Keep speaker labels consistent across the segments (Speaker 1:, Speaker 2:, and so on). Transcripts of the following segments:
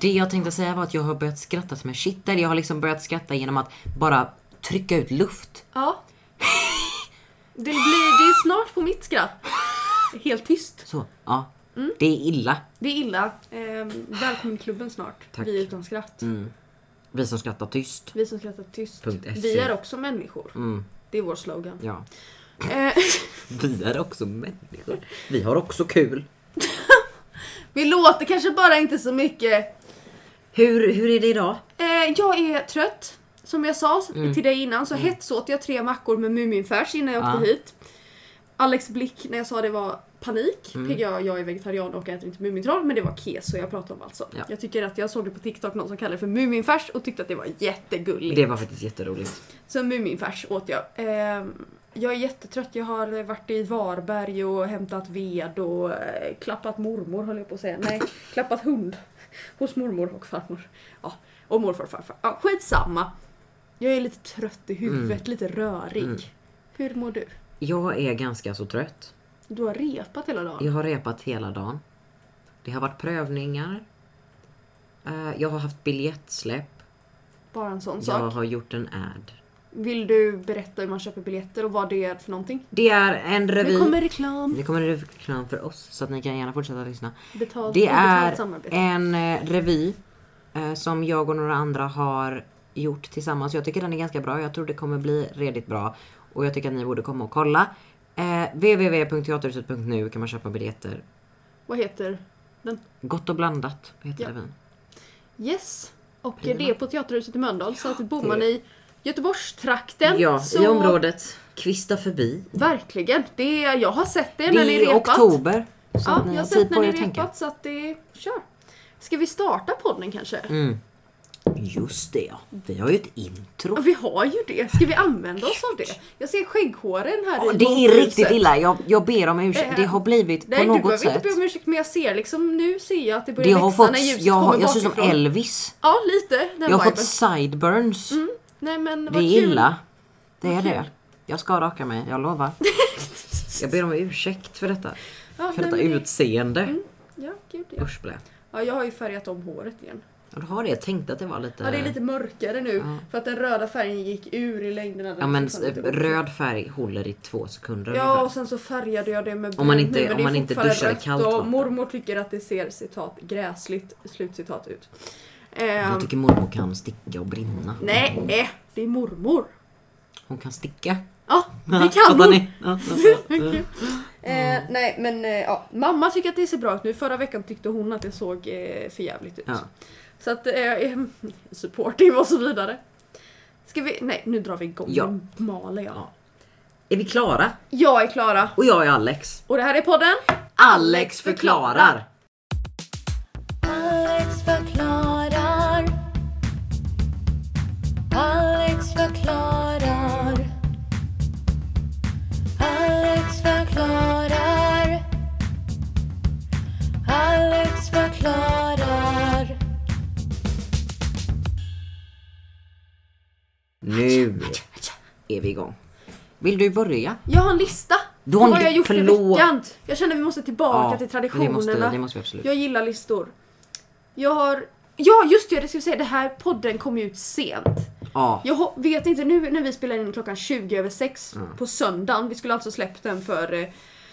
Speaker 1: Det jag tänkte säga var att jag har börjat skratta som en kittel. Jag har liksom börjat skratta genom att bara trycka ut luft.
Speaker 2: Ja. Det, blir, det är snart på mitt skratt. Helt tyst.
Speaker 1: Så, ja. Det är illa.
Speaker 2: Det är illa. Eh, välkommen till klubben snart.
Speaker 1: Tack.
Speaker 2: Vi utan skratt.
Speaker 1: Vi som skrattar tyst.
Speaker 2: Vi som skrattar tyst.
Speaker 1: Punkt SE.
Speaker 2: Vi är också människor.
Speaker 1: Mm,
Speaker 2: Det är vår slogan.
Speaker 1: ja.
Speaker 2: Eh,
Speaker 1: Vi är också människor. Vi har också kul.
Speaker 2: vi låter kanske bara inte så mycket.
Speaker 1: Hur, hur är det idag?
Speaker 2: Eh, jag är trött. Som jag sa till dig innan så hetsåt jag tre mackor med Muminfärs innan jag åkte
Speaker 1: Ja.
Speaker 2: hit. Alex blick när jag sa det var panik. PGA, jag är vegetarian och äter inte Mumintroll men det var keso jag pratade om alltså.
Speaker 1: Ja.
Speaker 2: Jag tycker att jag såg det på TikTok någon som kallade det för Muminfärs och tyckte att det var jättegulligt.
Speaker 1: Det var faktiskt jätteroligt.
Speaker 2: Så Muminfärs åt jag. Ehm, jag är jättetrött, jag har varit i Varberg och hämtat ved och eh, klappat mormor höll jag på att säga. Nej, klappat hund. Hos mormor och farmor. Ja, och morfar och farfar. Ja, skitsamma. Jag är lite trött i huvudet,
Speaker 1: Mm.
Speaker 2: lite rörig. Hur mår du?
Speaker 1: Jag är ganska så trött.
Speaker 2: Du har repat hela dagen.
Speaker 1: Jag har repat hela dagen. Det har varit prövningar. Eh, Jag har haft biljettsläpp.
Speaker 2: Bara en sån
Speaker 1: Jag
Speaker 2: sak.
Speaker 1: har gjort en ad.
Speaker 2: Vill du berätta hur man köper biljetter och vad det är för någonting?
Speaker 1: Det är en revy.
Speaker 2: Nu kommer reklam.
Speaker 1: Det kommer en reklam för oss så att ni kan gärna fortsätta lyssna.
Speaker 2: Betalt,
Speaker 1: Det
Speaker 2: obetalt
Speaker 1: är
Speaker 2: samarbete.
Speaker 1: en eh, revy eh, som jag och några andra har gjort tillsammans. Jag tycker den är ganska bra. Jag tror det kommer bli redigt bra. Och jag tycker att ni borde komma och kolla. Eh, www.teaterhuset.nu kan man köpa biljetter.
Speaker 2: Vad heter den?
Speaker 1: Gott och blandat heter
Speaker 2: Ja.
Speaker 1: revyn.
Speaker 2: Yes, och
Speaker 1: Prima.
Speaker 2: det är på Teaterhuset i Mölndal så att bor
Speaker 1: det-
Speaker 2: man i Göteborgstrakten
Speaker 1: Ja,
Speaker 2: så
Speaker 1: i området. Kvista förbi.
Speaker 2: verkligen, det är, jag har sett det,
Speaker 1: Det
Speaker 2: när ni
Speaker 1: är i
Speaker 2: repat.
Speaker 1: oktober. Så
Speaker 2: Ja,
Speaker 1: att ni har
Speaker 2: jag har
Speaker 1: tid
Speaker 2: sett när
Speaker 1: på er
Speaker 2: ni
Speaker 1: att tänka.
Speaker 2: repat så att det kör. Ska vi starta podden kanske?
Speaker 1: Mm. Just det ja. Vi har ju ett intro.
Speaker 2: Ja, Vi har ju det, ska vi använda oss av det? Jag ser skägghåren här
Speaker 1: Ja,
Speaker 2: i
Speaker 1: det är
Speaker 2: bakhuset.
Speaker 1: riktigt illa. Jag, jag ber om ursäkt.
Speaker 2: Eh,
Speaker 1: Det har blivit
Speaker 2: Nej
Speaker 1: på
Speaker 2: du behöver
Speaker 1: något
Speaker 2: inte
Speaker 1: sätt.
Speaker 2: be om ursäkt men jag ser liksom, nu ser jag att det börjar
Speaker 1: Det
Speaker 2: växa
Speaker 1: har fått,
Speaker 2: när ljuset
Speaker 1: jag, har,
Speaker 2: kommer
Speaker 1: jag ser ut som
Speaker 2: bakifrån.
Speaker 1: Elvis.
Speaker 2: Ja lite, den
Speaker 1: Jag har
Speaker 2: viben.
Speaker 1: fått sideburns.
Speaker 2: Nej men
Speaker 1: det
Speaker 2: Mm, vad
Speaker 1: är
Speaker 2: kul.
Speaker 1: illa. Det är
Speaker 2: Vad kul.
Speaker 1: det. Jag ska raka mig, jag lovar. jag ber om ursäkt för detta.
Speaker 2: Ja,
Speaker 1: För
Speaker 2: nej,
Speaker 1: detta
Speaker 2: men det- Mm.
Speaker 1: utseende.
Speaker 2: Ja, gud ja.
Speaker 1: Usch blä.
Speaker 2: ja, jag har ju färgat om håret igen.
Speaker 1: Ja, du har det. Jag tänkte att det var lite...
Speaker 2: Ja, det är lite mörkare nu för att den röda färgen gick ur i längderna.
Speaker 1: Ja,
Speaker 2: Den
Speaker 1: men
Speaker 2: gick liksom lite
Speaker 1: eh, röd färg håller i två sekunder
Speaker 2: Ja,
Speaker 1: ungefär.
Speaker 2: och sen så färgade jag det med
Speaker 1: Om man
Speaker 2: brunt
Speaker 1: inte-
Speaker 2: nu, men
Speaker 1: om
Speaker 2: det är
Speaker 1: man inte
Speaker 2: fortfarande
Speaker 1: duschar i
Speaker 2: rött
Speaker 1: kallt
Speaker 2: och
Speaker 1: vatten.
Speaker 2: Mormor tycker att det ser citat gräsligt slutcitat ut. Ehm,
Speaker 1: Jag tycker mormor kan sticka och brinna.
Speaker 2: nej, eh, det är mormor.
Speaker 1: Hon kan sticka.
Speaker 2: Ja, det kan
Speaker 1: Fattar
Speaker 2: hon.
Speaker 1: ni? Mm. Ja, ja, ja.
Speaker 2: Eh, nej, men eh, ja, mamma tycker att det ser bra ut nu. Förra veckan tyckte hon att det såg eh, för jävligt ut.
Speaker 1: Ja.
Speaker 2: Så att eh, eh, supportive och så vidare. Ska vi? Nej, nu drar vi igång.
Speaker 1: Ja.
Speaker 2: Nu maler jag.
Speaker 1: Ja. Är vi klara?
Speaker 2: Jag är Klara.
Speaker 1: Och jag är Alex.
Speaker 2: Och det här är podden
Speaker 1: Alex förklarar.
Speaker 3: Alex förklarar. Alex förklarar. Alex förklarar. Alex förklarar.
Speaker 1: Nu är vi igång. Vill du börja?
Speaker 2: Jag har en lista
Speaker 1: Du
Speaker 2: på
Speaker 1: har en
Speaker 2: vad jag
Speaker 1: li-
Speaker 2: gjort i
Speaker 1: förlåt.
Speaker 2: veckan. Jag känner vi måste tillbaka
Speaker 1: men
Speaker 2: till
Speaker 1: det
Speaker 2: traditionerna.
Speaker 1: måste, det måste vi absolut.
Speaker 2: Jag gillar listor. Jag har... Ja just det, jag skulle säga det här podden kom ju ut sent.
Speaker 1: Ja,
Speaker 2: Jag ho- vet inte nu när vi spelar in klockan 20 över 6 på söndagen. Vi skulle alltså släppt den för eh,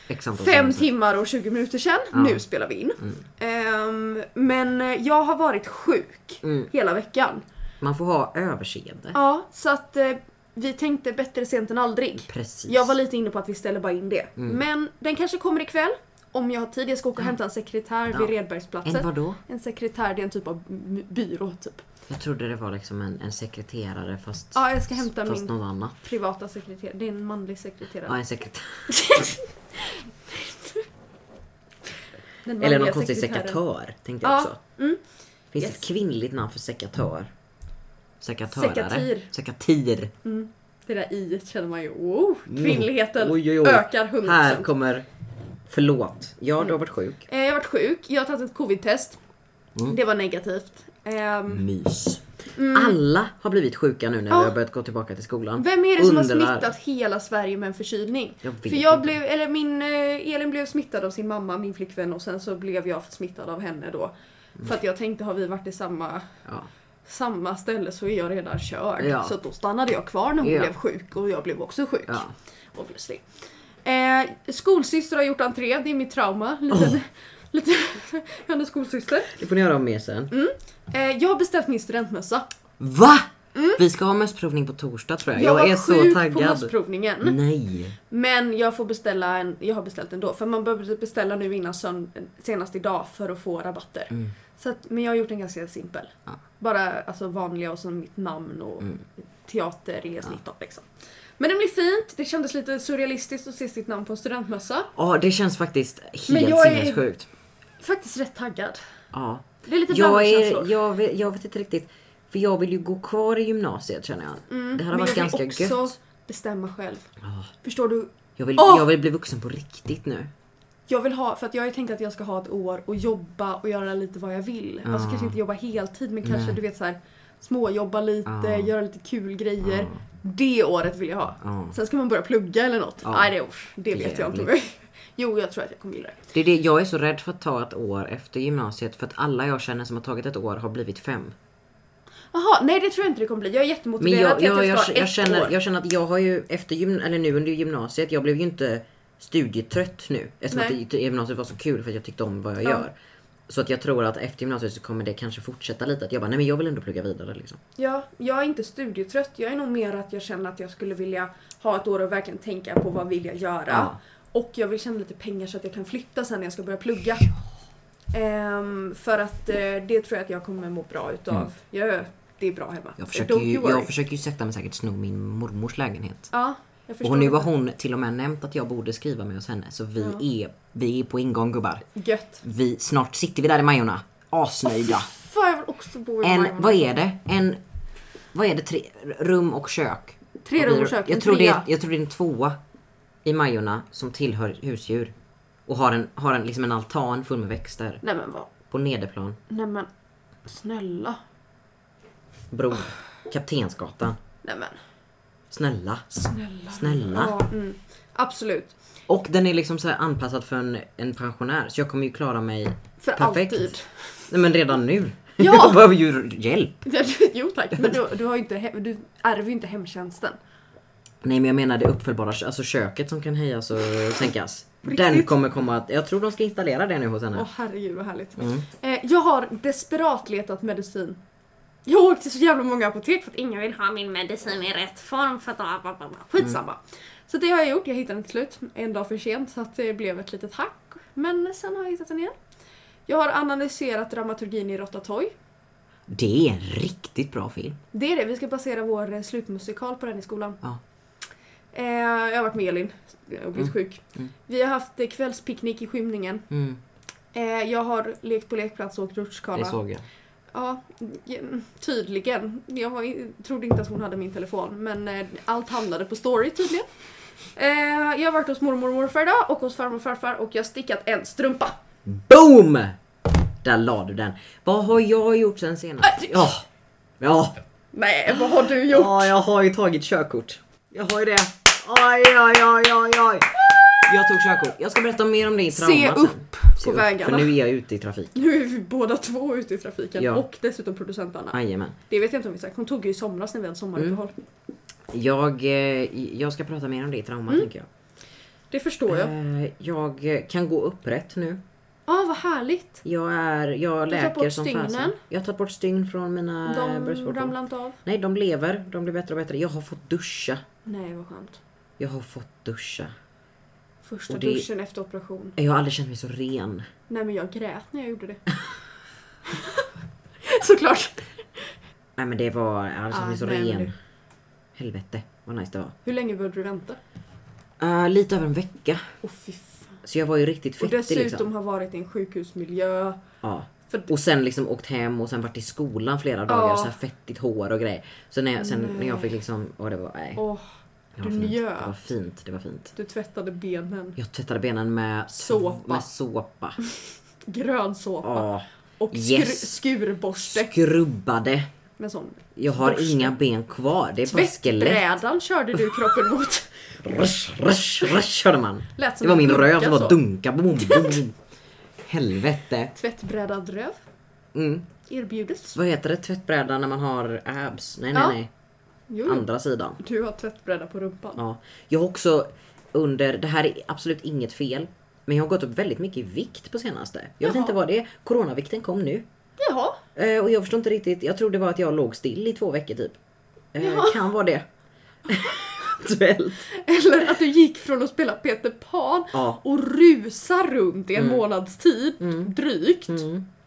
Speaker 1: X antal
Speaker 2: Fem
Speaker 1: timmar.
Speaker 2: timmar och 20 minuter sedan. Nu spelar vi in.
Speaker 1: Mm.
Speaker 2: Ehm, men eh, jag har varit sjuk
Speaker 1: Mm.
Speaker 2: hela veckan.
Speaker 1: Man får ha överseende.
Speaker 2: Ja, så att eh, vi tänkte bättre sent än aldrig.
Speaker 1: Precis. Mm.
Speaker 2: Jag var lite inne på att vi ställer bara in det. Men den kanske kommer ikväll. Om jag har tid. Jag ska åka och hämta en sekretär
Speaker 1: Ja.
Speaker 2: vid Redbergsplatsen.
Speaker 1: En vadå?
Speaker 2: En sekretär, det är en typ av m- byrå typ.
Speaker 1: Jag trodde det var liksom en, en sekreterare fast,
Speaker 2: Ja, jag ska hämta
Speaker 1: fast
Speaker 2: min
Speaker 1: något annat.
Speaker 2: privata sekreterare. Det är en manlig sekreterare.
Speaker 1: Ja, en sekreterare.
Speaker 2: Den
Speaker 1: Eller någon
Speaker 2: manliga
Speaker 1: konstig
Speaker 2: sekretären.
Speaker 1: sekatör tänkte
Speaker 2: Ja,
Speaker 1: jag också.
Speaker 2: mm.
Speaker 1: Finns
Speaker 2: Yes.
Speaker 1: ett kvinnligt namn för sekatör? Sekatörare?
Speaker 2: Sekatir.
Speaker 1: Sekatir.
Speaker 2: Det där i känner man ju, oh, kvinnligheten
Speaker 1: Mm. Oj, oj, oj.
Speaker 2: ökar 100%.
Speaker 1: Här kommer... Förlåt. Ja, du har varit sjuk.
Speaker 2: Eh, Jag har varit sjuk, jag har tagit ett covid-test.
Speaker 1: Mm.
Speaker 2: Det var negativt. Ehm,
Speaker 1: Mys. Alla har blivit sjuka nu när
Speaker 2: Mm. Ja.
Speaker 1: vi har börjat gå tillbaka till skolan.
Speaker 2: Vem är det som har
Speaker 1: Undrar.
Speaker 2: smittat hela Sverige med en förkylning?
Speaker 1: Jag vet
Speaker 2: För jag
Speaker 1: inte.
Speaker 2: blev, eller min, eh, Elin blev smittad av sin mamma, min flickvän och sen så blev jag smittad av henne då. För att jag tänkte har vi varit i samma,
Speaker 1: Ja.
Speaker 2: samma ställe så är jag redan körd.
Speaker 1: Ja.
Speaker 2: Så att då stannade jag kvar när hon
Speaker 1: Ja.
Speaker 2: blev sjuk och jag blev också sjuk.
Speaker 1: Ja.
Speaker 2: Obviously. Eh, skolsyster har gjort entré, det är mitt trauma. Liten,
Speaker 1: Oh.
Speaker 2: lite, jag hade en skolsyster.
Speaker 1: Det får ni göra om mer sen.
Speaker 2: Eh, jag har beställt min studentmössa.
Speaker 1: VA? Vi ska ha mössprovning på torsdag tror jag. Jag,
Speaker 2: var
Speaker 1: är så
Speaker 2: sjuk på
Speaker 1: taggad.
Speaker 2: mössprovningen.
Speaker 1: Nej.
Speaker 2: Men jag får beställa en, jag har beställt ändå. För man behöver beställa nu innan sönd, senast idag för att få rabatter. Så att, men jag har gjort en ganska simpel.
Speaker 1: Mm. Ja. Mm.
Speaker 2: Bara alltså, vanliga och så mitt namn och teater i snitt ja. liksom. Men det blir fint, det kändes lite surrealistiskt att se sitt namn på en studentmössa.
Speaker 1: Ja det känns faktiskt
Speaker 2: Men
Speaker 1: helt
Speaker 2: jag är-
Speaker 1: sinnessjukt.
Speaker 2: Faktiskt rätt taggad.
Speaker 1: Ja.
Speaker 2: Det är lite
Speaker 1: Jag,
Speaker 2: blandade
Speaker 1: är,
Speaker 2: känslor.
Speaker 1: jag, vet, jag vet inte riktigt. För jag vill ju gå kvar i gymnasiet känner jag. det här har
Speaker 2: Mm. men
Speaker 1: varit
Speaker 2: jag vill
Speaker 1: ganska
Speaker 2: också
Speaker 1: gött.
Speaker 2: bestämma själv.
Speaker 1: Ja.
Speaker 2: Förstår du?
Speaker 1: Jag vill,
Speaker 2: Åh!
Speaker 1: jag vill bli vuxen på riktigt nu.
Speaker 2: Jag vill ha, för att jag har ju tänkt att jag ska ha ett år och jobba och göra lite vad jag vill.
Speaker 1: Ja.
Speaker 2: Alltså kanske inte jobba heltid men kanske
Speaker 1: Nej.
Speaker 2: du vet så här småjobba lite,
Speaker 1: Ja.
Speaker 2: göra lite kul grejer.
Speaker 1: Ja.
Speaker 2: Det året vill jag ha.
Speaker 1: Ja.
Speaker 2: Sen ska man börja plugga eller något.
Speaker 1: Ja.
Speaker 2: Nej, det, det vet jag inte. om
Speaker 1: Jävligt.
Speaker 2: jag- Jo, jag tror att jag kommer gilla det.
Speaker 1: Det är det, jag är så rädd för att ta ett år efter gymnasiet för att alla jag känner som har tagit ett år har blivit fem.
Speaker 2: Jaha, nej det tror jag inte det kommer bli. Jag är
Speaker 1: Men
Speaker 2: jättemotiverad
Speaker 1: jag,
Speaker 2: till att
Speaker 1: jag,
Speaker 2: jag,
Speaker 1: jag,
Speaker 2: ska ha
Speaker 1: jag,
Speaker 2: ett
Speaker 1: känner,
Speaker 2: år.
Speaker 1: jag känner att jag har ju efter gym, eller nu under gymnasiet, jag blev ju inte studietrött nu. Eftersom
Speaker 2: Nej.
Speaker 1: att det- gymnasiet var så kul för att jag tyckte om vad jag
Speaker 2: Ja.
Speaker 1: gör. Så att jag tror att efter gymnasiet så kommer det kanske fortsätta lite. Att jag bara, nej men jag vill ändå plugga vidare liksom.
Speaker 2: Ja, jag är inte studietrött. Jag är nog mer att jag känner att jag skulle vilja ha ett år och verkligen tänka på vad vill jag göra.
Speaker 1: Ja.
Speaker 2: Och jag vill tjäna lite pengar så att jag kan flytta sen när jag ska börja plugga. Ehm, för att eh, det tror jag att jag kommer må bra utav. Jag, det är bra hemma.
Speaker 1: Mm. Jag försöker,
Speaker 2: Don't
Speaker 1: ju,
Speaker 2: you worry.
Speaker 1: jag försöker ju sakta men säkert sno min mormors lägenhet.
Speaker 2: Ja, jag förstår.
Speaker 1: Och nu har hon till och med nämnt att jag borde skriva med hos henne. Så vi, är, vi är på ingång gubbar.
Speaker 2: Gött.
Speaker 1: Vi, snart sitter vi där i Majorna. Asnöjda.
Speaker 2: Fan, jag vill också bo i
Speaker 1: En,
Speaker 2: Majorna.
Speaker 1: vad är det? En, vad är det? Tre, rum och kök?
Speaker 2: Tre
Speaker 1: Vad blir
Speaker 2: rum och
Speaker 1: det?
Speaker 2: kök, en
Speaker 1: Jag tror, det är,
Speaker 2: trea.
Speaker 1: jag tror det är en tvåa i Majorna som tillhör husdjur. Och har en, har en, liksom en altan full med växter.
Speaker 2: Nej men vad.
Speaker 1: På nederplan.
Speaker 2: Nej men. Snälla.
Speaker 1: Bro. Kaptensgatan.
Speaker 2: Nej men.
Speaker 1: Snälla.
Speaker 2: Snälla.
Speaker 1: Snälla.
Speaker 2: Ja, mm. Absolut.
Speaker 1: Och den är liksom så här anpassad för en, en pensionär. Så jag kommer ju klara mig
Speaker 2: För
Speaker 1: perfekt.
Speaker 2: alltid.
Speaker 1: Nej men redan nu.
Speaker 2: Ja!
Speaker 1: Jag behöver ju hjälp.
Speaker 2: Ja, jo tack, men du, du, har ju inte he- du ärver ju inte hemtjänsten.
Speaker 1: Nej men jag menar det uppfällbara, alltså köket som kan höjas och sänkas.
Speaker 2: Riktigt?
Speaker 1: Den kommer komma att, jag tror de ska installera det nu hos henne.
Speaker 2: Åh herregud vad härligt.
Speaker 1: Mm.
Speaker 2: Eh, jag har desperat letat medicin. Jag har åkt till så jävla många apotek för att ingen vill ha min medicin i rätt form för att ah, bah, bah, bah. skitsamma.
Speaker 1: Mm.
Speaker 2: Så det har jag gjort, jag hittade den till slut. En dag för sent så att det blev ett litet hack. Men sen har jag hittat den igen. Jag har analyserat dramaturgin i Ratatouille.
Speaker 1: Det är en riktigt bra film.
Speaker 2: Det är det, vi ska basera vår eh, slutmusikal på den i skolan.
Speaker 1: Ja.
Speaker 2: Eh, jag har varit med Elin och blivit sjuk. Vi har haft eh, kvällspicknick i skymningen.
Speaker 1: Mm,
Speaker 2: Eh, jag har lekt på lekplats och åkt
Speaker 1: det
Speaker 2: rutschkana.
Speaker 1: såg jag.
Speaker 2: Ja, ja, tydligen. Jag var, i- trodde inte att hon hade min telefon men eh, allt hamnade på story tydligen. Eh, jag har varit hos mormor och morfar idag och hos farmor och farfar och jag har stickat en strumpa.
Speaker 1: Boom! Där la du den. Vad har jag gjort sen senast?
Speaker 2: Aj!
Speaker 1: Ja. Ja.
Speaker 2: Nej, vad har du gjort?
Speaker 1: ja, jag har ju tagit körkort. Jag har ju det. Oj, oj, oj, oj, oj. Jag tog körkort. Jag ska berätta mer om det i
Speaker 2: Se
Speaker 1: trauma sen.
Speaker 2: upp på vägarna.
Speaker 1: För nu är jag ute i trafik.
Speaker 2: Nu är vi båda två ute i trafiken
Speaker 1: Ja.
Speaker 2: och dessutom producent Anna.
Speaker 1: Jajamän.
Speaker 2: Det vet jag inte om vi sagt. Hon tog ju i somras när vi hade sommaruppehåll.
Speaker 1: Mm. Jag, eh, jag ska prata mer om det i trauma
Speaker 2: Mm.
Speaker 1: tänker jag.
Speaker 2: Det förstår jag.
Speaker 1: Eh, Jag kan gå upprätt nu.
Speaker 2: Ja, ah, vad härligt.
Speaker 1: Jag, är, jag
Speaker 2: tagit
Speaker 1: läker
Speaker 2: bort
Speaker 1: som
Speaker 2: stygnen.
Speaker 1: fasen. Jag har tagit bort stygn från mina eh,
Speaker 2: De
Speaker 1: bröstvårtor.
Speaker 2: ramlade inte av.
Speaker 1: Nej, de lever. De blir bättre och bättre. Jag har fått duscha.
Speaker 2: Nej, vad skönt.
Speaker 1: Jag har fått duscha.
Speaker 2: Första
Speaker 1: Och det-
Speaker 2: duschen efter operation.
Speaker 1: Jag har aldrig känt mig så ren.
Speaker 2: Nej men jag grät när jag gjorde det. Såklart.
Speaker 1: Nej men det var, jag har aldrig känt mig
Speaker 2: Ah,
Speaker 1: så
Speaker 2: nej, men
Speaker 1: ren.
Speaker 2: det-
Speaker 1: Helvete vad nice det var.
Speaker 2: Hur länge behövde du vänta?
Speaker 1: Eh, lite över en vecka.
Speaker 2: Åh fy fan.
Speaker 1: Så jag var ju riktigt
Speaker 2: Och
Speaker 1: fettig
Speaker 2: dessutom
Speaker 1: liksom.
Speaker 2: har varit i en sjukhusmiljö.
Speaker 1: Ja.
Speaker 2: För
Speaker 1: Och sen liksom åkt hem och sen varit i skolan flera dagar. Så här fettigt hår och grejer. Så när jag, sen när jag fick liksom, åh det var, nej.
Speaker 2: åh,
Speaker 1: det
Speaker 2: du
Speaker 1: var fint. Det var
Speaker 2: njöt.
Speaker 1: fint, det var fint.
Speaker 2: Du tvättade benen.
Speaker 1: Jag tvättade benen med
Speaker 2: Såpa.
Speaker 1: Med såpa.
Speaker 2: Grön såpa.
Speaker 1: Ja.
Speaker 2: och skru-
Speaker 1: yes.
Speaker 2: skurborste.
Speaker 1: Skrubbade.
Speaker 2: Med sån.
Speaker 1: Jag har
Speaker 2: Borste.
Speaker 1: inga ben kvar. Det är bara skelett.
Speaker 2: Tvättbrädan körde du kroppen mot.
Speaker 1: Rush, rush, rush hörde man.
Speaker 2: Lät som
Speaker 1: Det var
Speaker 2: en
Speaker 1: min
Speaker 2: dunka
Speaker 1: röv som
Speaker 2: så.
Speaker 1: bara dunkade. Boom, boom, boom. Helvete.
Speaker 2: Tvättbrädan dröv.
Speaker 1: Mm.
Speaker 2: Erbjudes.
Speaker 1: Vad heter det? Tvättbräda när man har abs? Nej,
Speaker 2: Ja. Mm.
Speaker 1: nej,
Speaker 2: Jo,
Speaker 1: nej.
Speaker 2: jo.
Speaker 1: Andra sidan.
Speaker 2: Du har tvättbräda på rumpan.
Speaker 1: Ja. Jag har också under, det här är absolut inget fel, men jag har gått upp väldigt mycket i vikt på senaste. Jag vet
Speaker 2: Jaha.
Speaker 1: inte vad det är. Coronavikten kom nu.
Speaker 2: Jaha,
Speaker 1: Eh, och jag förstår inte riktigt, jag tror det var att jag låg still i två veckor typ. Eh, kan vara det. Eventuellt.
Speaker 2: eller att du gick från att spela Peter Pan
Speaker 1: Ja. Mm.
Speaker 2: och rusa runt i en månads tid, drygt.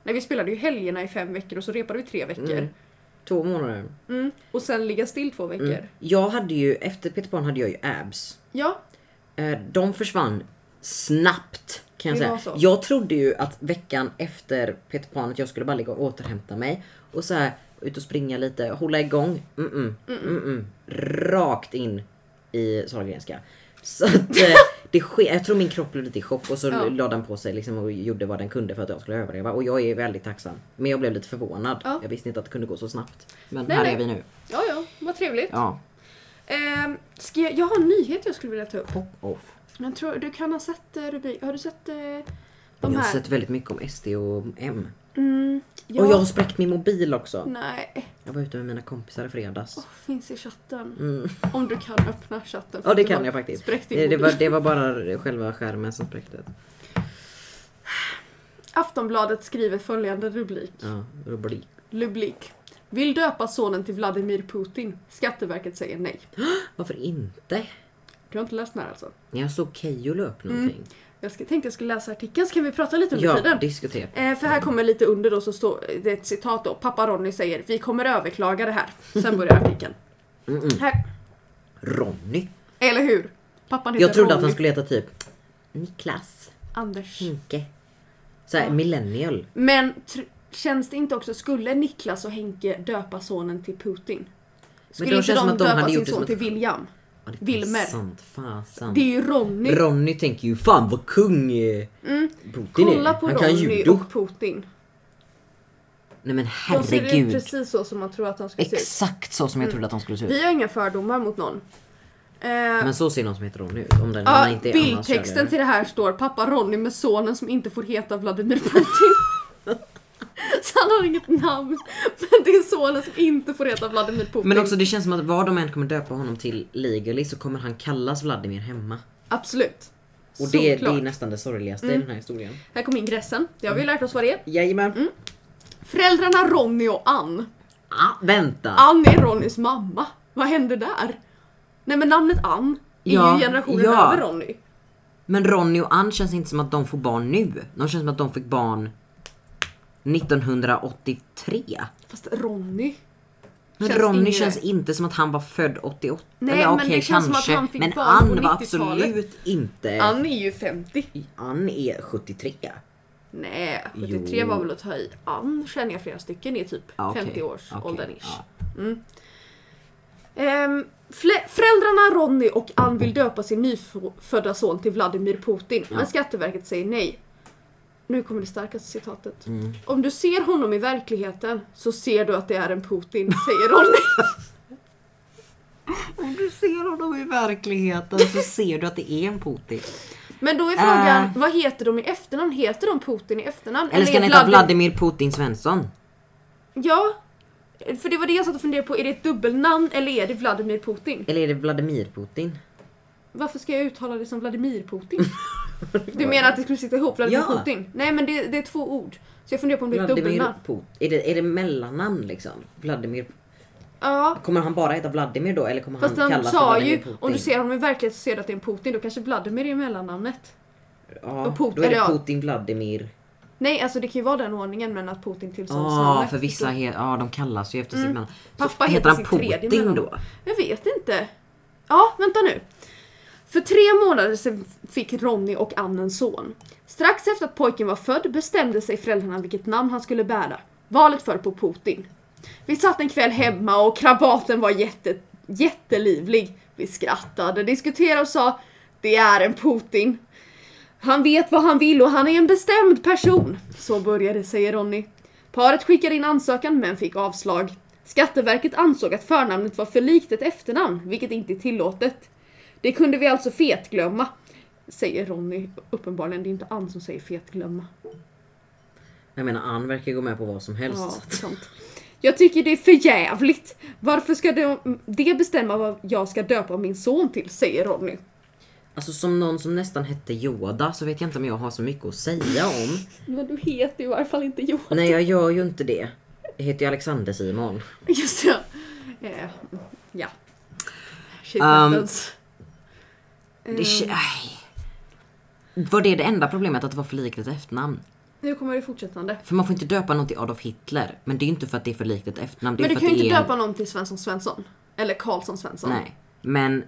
Speaker 2: Nej, vi spelade ju helgerna i fem veckor och så repade vi tre veckor. Mm.
Speaker 1: Två månader.
Speaker 2: Och sen ligga still två veckor.
Speaker 1: Jag hade ju, efter Peter Pan hade jag ju abs.
Speaker 2: Ja,
Speaker 1: Eh, de försvann snabbt kan jag
Speaker 2: Det
Speaker 1: säga.
Speaker 2: var så.
Speaker 1: Jag trodde ju att veckan efter Peter Pan att jag skulle bara ligga och återhämta mig och så här ut och springa lite, hålla igång. Mm, Mm-mm,
Speaker 2: Mm,
Speaker 1: mm-mm. Rakt in i Sahlgrenska. Så att eh, det ske- jag tror min kropp blev lite i chock och så
Speaker 2: Ja.
Speaker 1: la den på sig liksom och gjorde vad den kunde för att jag skulle överleva och jag är väldigt tacksam. Men jag blev lite förvånad.
Speaker 2: Ja.
Speaker 1: Jag visste inte att det kunde gå så snabbt. Men
Speaker 2: Nej,
Speaker 1: här
Speaker 2: nej.
Speaker 1: är vi nu.
Speaker 2: ja, ja, vad trevligt.
Speaker 1: Ja,
Speaker 2: Ehm, ska jag, jag har en nyhet jag skulle vilja ta upp.
Speaker 1: pop off.
Speaker 2: Jag tror, du kan ha sett eh, rubrik. Har du sett eh, de
Speaker 1: jag har
Speaker 2: här?
Speaker 1: sett väldigt mycket om SD och M.
Speaker 2: Mm, ja,
Speaker 1: Och jag har spräckt min mobil också.
Speaker 2: Nej,
Speaker 1: Jag var ute med mina kompisar i fredags.
Speaker 2: Åh, finns i chatten.
Speaker 1: Mm.
Speaker 2: Om du kan öppna chatten. för
Speaker 1: Ja det
Speaker 2: du har
Speaker 1: kan jag faktiskt.
Speaker 2: spräckt din
Speaker 1: Det, det,
Speaker 2: mobil.
Speaker 1: var, det var bara själva skärmen som spräcktes.
Speaker 2: Aftonbladet skriver följande rubrik.
Speaker 1: Ja, rubrik.
Speaker 2: Lublik. Vill döpa sonen till Vladimir Putin. Skatteverket säger nej.
Speaker 1: Varför inte?
Speaker 2: Du har inte läst den här alltså?
Speaker 1: Jag såg Keyyo la upp någonting.
Speaker 2: Jag ska, tänkte jag skulle läsa artikeln så kan vi prata lite Mm, under
Speaker 1: Ja,
Speaker 2: tiden.
Speaker 1: diskutera.
Speaker 2: Eh, för här kommer lite under då så står det är ett citat då. Pappa Ronny säger vi kommer överklaga det här. Sen börjar artikeln. Här.
Speaker 1: Ronny.
Speaker 2: Eller hur? Pappan heter
Speaker 1: Jag trodde att
Speaker 2: Ronny.
Speaker 1: han skulle Mm. heta typ Niklas,
Speaker 2: Anders.
Speaker 1: Henke. Såhär millennial.
Speaker 2: Men tr- känns det inte också, skulle Niklas och Henke döpa sonen till Putin? Skulle
Speaker 1: då
Speaker 2: inte
Speaker 1: känns
Speaker 2: de,
Speaker 1: som att de
Speaker 2: döpa
Speaker 1: hade
Speaker 2: sin
Speaker 1: gjort det
Speaker 2: son
Speaker 1: som
Speaker 2: till
Speaker 1: ett-
Speaker 2: William?
Speaker 1: Ja, det är
Speaker 2: Wilmer.
Speaker 1: Sant, fasan.
Speaker 2: Det är ju Ronny.
Speaker 1: Ronny tänker ju fan vad kung eh, Putin
Speaker 2: Mm. Kolla
Speaker 1: är.
Speaker 2: på
Speaker 1: Han kan
Speaker 2: Ronny
Speaker 1: judo.
Speaker 2: och Putin.
Speaker 1: Nej men
Speaker 2: De ser ut
Speaker 1: herregud.
Speaker 2: precis så som man tror att de ska se ut.
Speaker 1: Exakt så som jag trodde att han skulle se ut.
Speaker 2: Vi har inga fördomar mot någon. Eh,
Speaker 1: Men så ser någon som heter Ronny ut. Om den om
Speaker 2: ja,
Speaker 1: den inte är annars
Speaker 2: bildtexten
Speaker 1: körare.
Speaker 2: till det här står pappa Ronny med sonen som inte får heta Vladimir Putin. Så han har inget namn. Men det är sonen som inte får heta Vladimir Putin.
Speaker 1: Men också det känns som att vad de än kommer döpa honom till legally så kommer han kallas Vladimir hemma.
Speaker 2: Absolut.
Speaker 1: Och det, det
Speaker 2: Såklart. Mm.
Speaker 1: är nästan det sorgligaste i den här historien.
Speaker 2: Här kommer ingressen. Det har vi lärt oss vad det är.
Speaker 1: Jajamän.
Speaker 2: Mm. Föräldrarna Ronny och Ann.
Speaker 1: Ah, vänta!
Speaker 2: Ann är Ronnys mamma. Vad hände där? Nej men namnet Ann är
Speaker 1: Ja,
Speaker 2: ju generationen
Speaker 1: ja.
Speaker 2: över Ronny.
Speaker 1: Men Ronny och Ann känns inte som att de får barn nu. De känns som att de fick barn 1983.
Speaker 2: Fast Ronny.
Speaker 1: Men
Speaker 2: Känns
Speaker 1: Ronny
Speaker 2: yngre.
Speaker 1: känns inte som att han var född 88.
Speaker 2: Nej,
Speaker 1: Eller
Speaker 2: men
Speaker 1: okej,
Speaker 2: det känns som att
Speaker 1: kanske.
Speaker 2: han fick
Speaker 1: men
Speaker 2: barn på
Speaker 1: Ann var
Speaker 2: 90-talet.
Speaker 1: absolut inte...
Speaker 2: Ann är ju 50.
Speaker 1: Ann är 73.
Speaker 2: Nej, 73
Speaker 1: Jo.
Speaker 2: var väl att ta i. Ann känner jag flera stycken är typ
Speaker 1: Ja, okej.
Speaker 2: 50 års
Speaker 1: Okej,
Speaker 2: åldern ish.
Speaker 1: ja.
Speaker 2: Ehm, fle- föräldrarna Ronny och Ann vill döpa sin nyfödda son till Vladimir Putin, men Skatteverket säger nej. Nu kommer det starkaste citatet.
Speaker 1: Mm.
Speaker 2: Om du ser honom i verkligheten så ser du att det är en Putin, säger Ronny.
Speaker 1: Om du ser honom i verkligheten så ser du att det är en Putin.
Speaker 2: Men då är frågan,
Speaker 1: Äh.
Speaker 2: vad heter de i efternamn? Heter de Putin i efternamn?
Speaker 1: Eller ska
Speaker 2: är
Speaker 1: han heta
Speaker 2: Vladi-
Speaker 1: Vladimir Putin Svensson?
Speaker 2: Ja, för det var det jag satt och funderade på. Är det ett dubbelnamn eller är det Vladimir Putin?
Speaker 1: Eller är det Vladimir Putin?
Speaker 2: Varför ska jag uttala det som Vladimir Putin? Du menar att det skulle sitta ihop, Vladimir
Speaker 1: Ja.
Speaker 2: Putin? Nej men det, det är två ord. Så jag funderar på om det är ett
Speaker 1: Vladimir
Speaker 2: dubbelnamn.
Speaker 1: Putin. Är det, är det mellannamn liksom? Vladimir.
Speaker 2: Ja,
Speaker 1: Kommer han bara heta Vladimir då eller kommer
Speaker 2: fast
Speaker 1: han
Speaker 2: han
Speaker 1: kallas
Speaker 2: sa
Speaker 1: för Vladimir
Speaker 2: ju
Speaker 1: Putin?
Speaker 2: om du ser honom i verkligheten så ser du att det är en Putin. Då kanske Vladimir är mellannamnet.
Speaker 1: ja,
Speaker 2: och Putin,
Speaker 1: Då är
Speaker 2: eller
Speaker 1: det
Speaker 2: ja.
Speaker 1: Putin Vladimir.
Speaker 2: Nej, alltså det kan ju vara den ordningen men att Putin tillskrivs
Speaker 1: Ja, Ah, för vissa he- ja, de kallas ju efter sitt mellan. Så
Speaker 2: Pappa heter
Speaker 1: Mm. heter han
Speaker 2: sitt tredje
Speaker 1: Putin
Speaker 2: mellannamn.
Speaker 1: då?
Speaker 2: Jag vet inte. Ja, vänta nu. För tre månader sedan fick Ronny och Ann en son. Strax efter att pojken var född bestämde sig föräldrarna vilket namn han skulle bära. Valet föll på Putin. Vi satt en kväll hemma och krabaten var jätte, jättelivlig. Vi skrattade, diskuterade och sa Det är en Putin. Han vet vad han vill och han är en bestämd person. Så började, säger Ronny. Paret skickade in ansökan men fick avslag. Skatteverket ansåg att förnamnet var för likt ett efternamn, vilket inte är tillåtet. Det kunde vi alltså fetglömma, säger Ronny. Uppenbarligen, det är inte Ann som säger fetglömma.
Speaker 1: Jag menar Ann verkar ju gå med på vad som helst.
Speaker 2: Ja,
Speaker 1: så att-
Speaker 2: sant. Jag tycker det är för jävligt. Varför ska de, det bestämma vad jag ska döpa min son till, säger Ronny.
Speaker 1: Alltså som någon som nästan hette Yoda så vet jag inte om jag har så mycket att säga om.
Speaker 2: Men du heter ju i varje fall inte Johan.
Speaker 1: Nej jag gör ju inte det. Jag heter ju Alexander Simon.
Speaker 2: Just det. Eh, ja. Ehm, Shit
Speaker 1: Um,
Speaker 2: happens.
Speaker 1: Det, k- aj. Var det det enda problemet att det var för likt ett efternamn?
Speaker 2: Nu kommer det fortsättande.
Speaker 1: För man får inte döpa någon till Adolf Hitler. Men det är ju inte för att det är för likt ett efternamn. Det är
Speaker 2: Men du
Speaker 1: för
Speaker 2: kan
Speaker 1: att
Speaker 2: ju
Speaker 1: det
Speaker 2: inte
Speaker 1: är
Speaker 2: döpa någon till Svensson Svensson. Eller Karlsson Svensson.
Speaker 1: Nej. Men,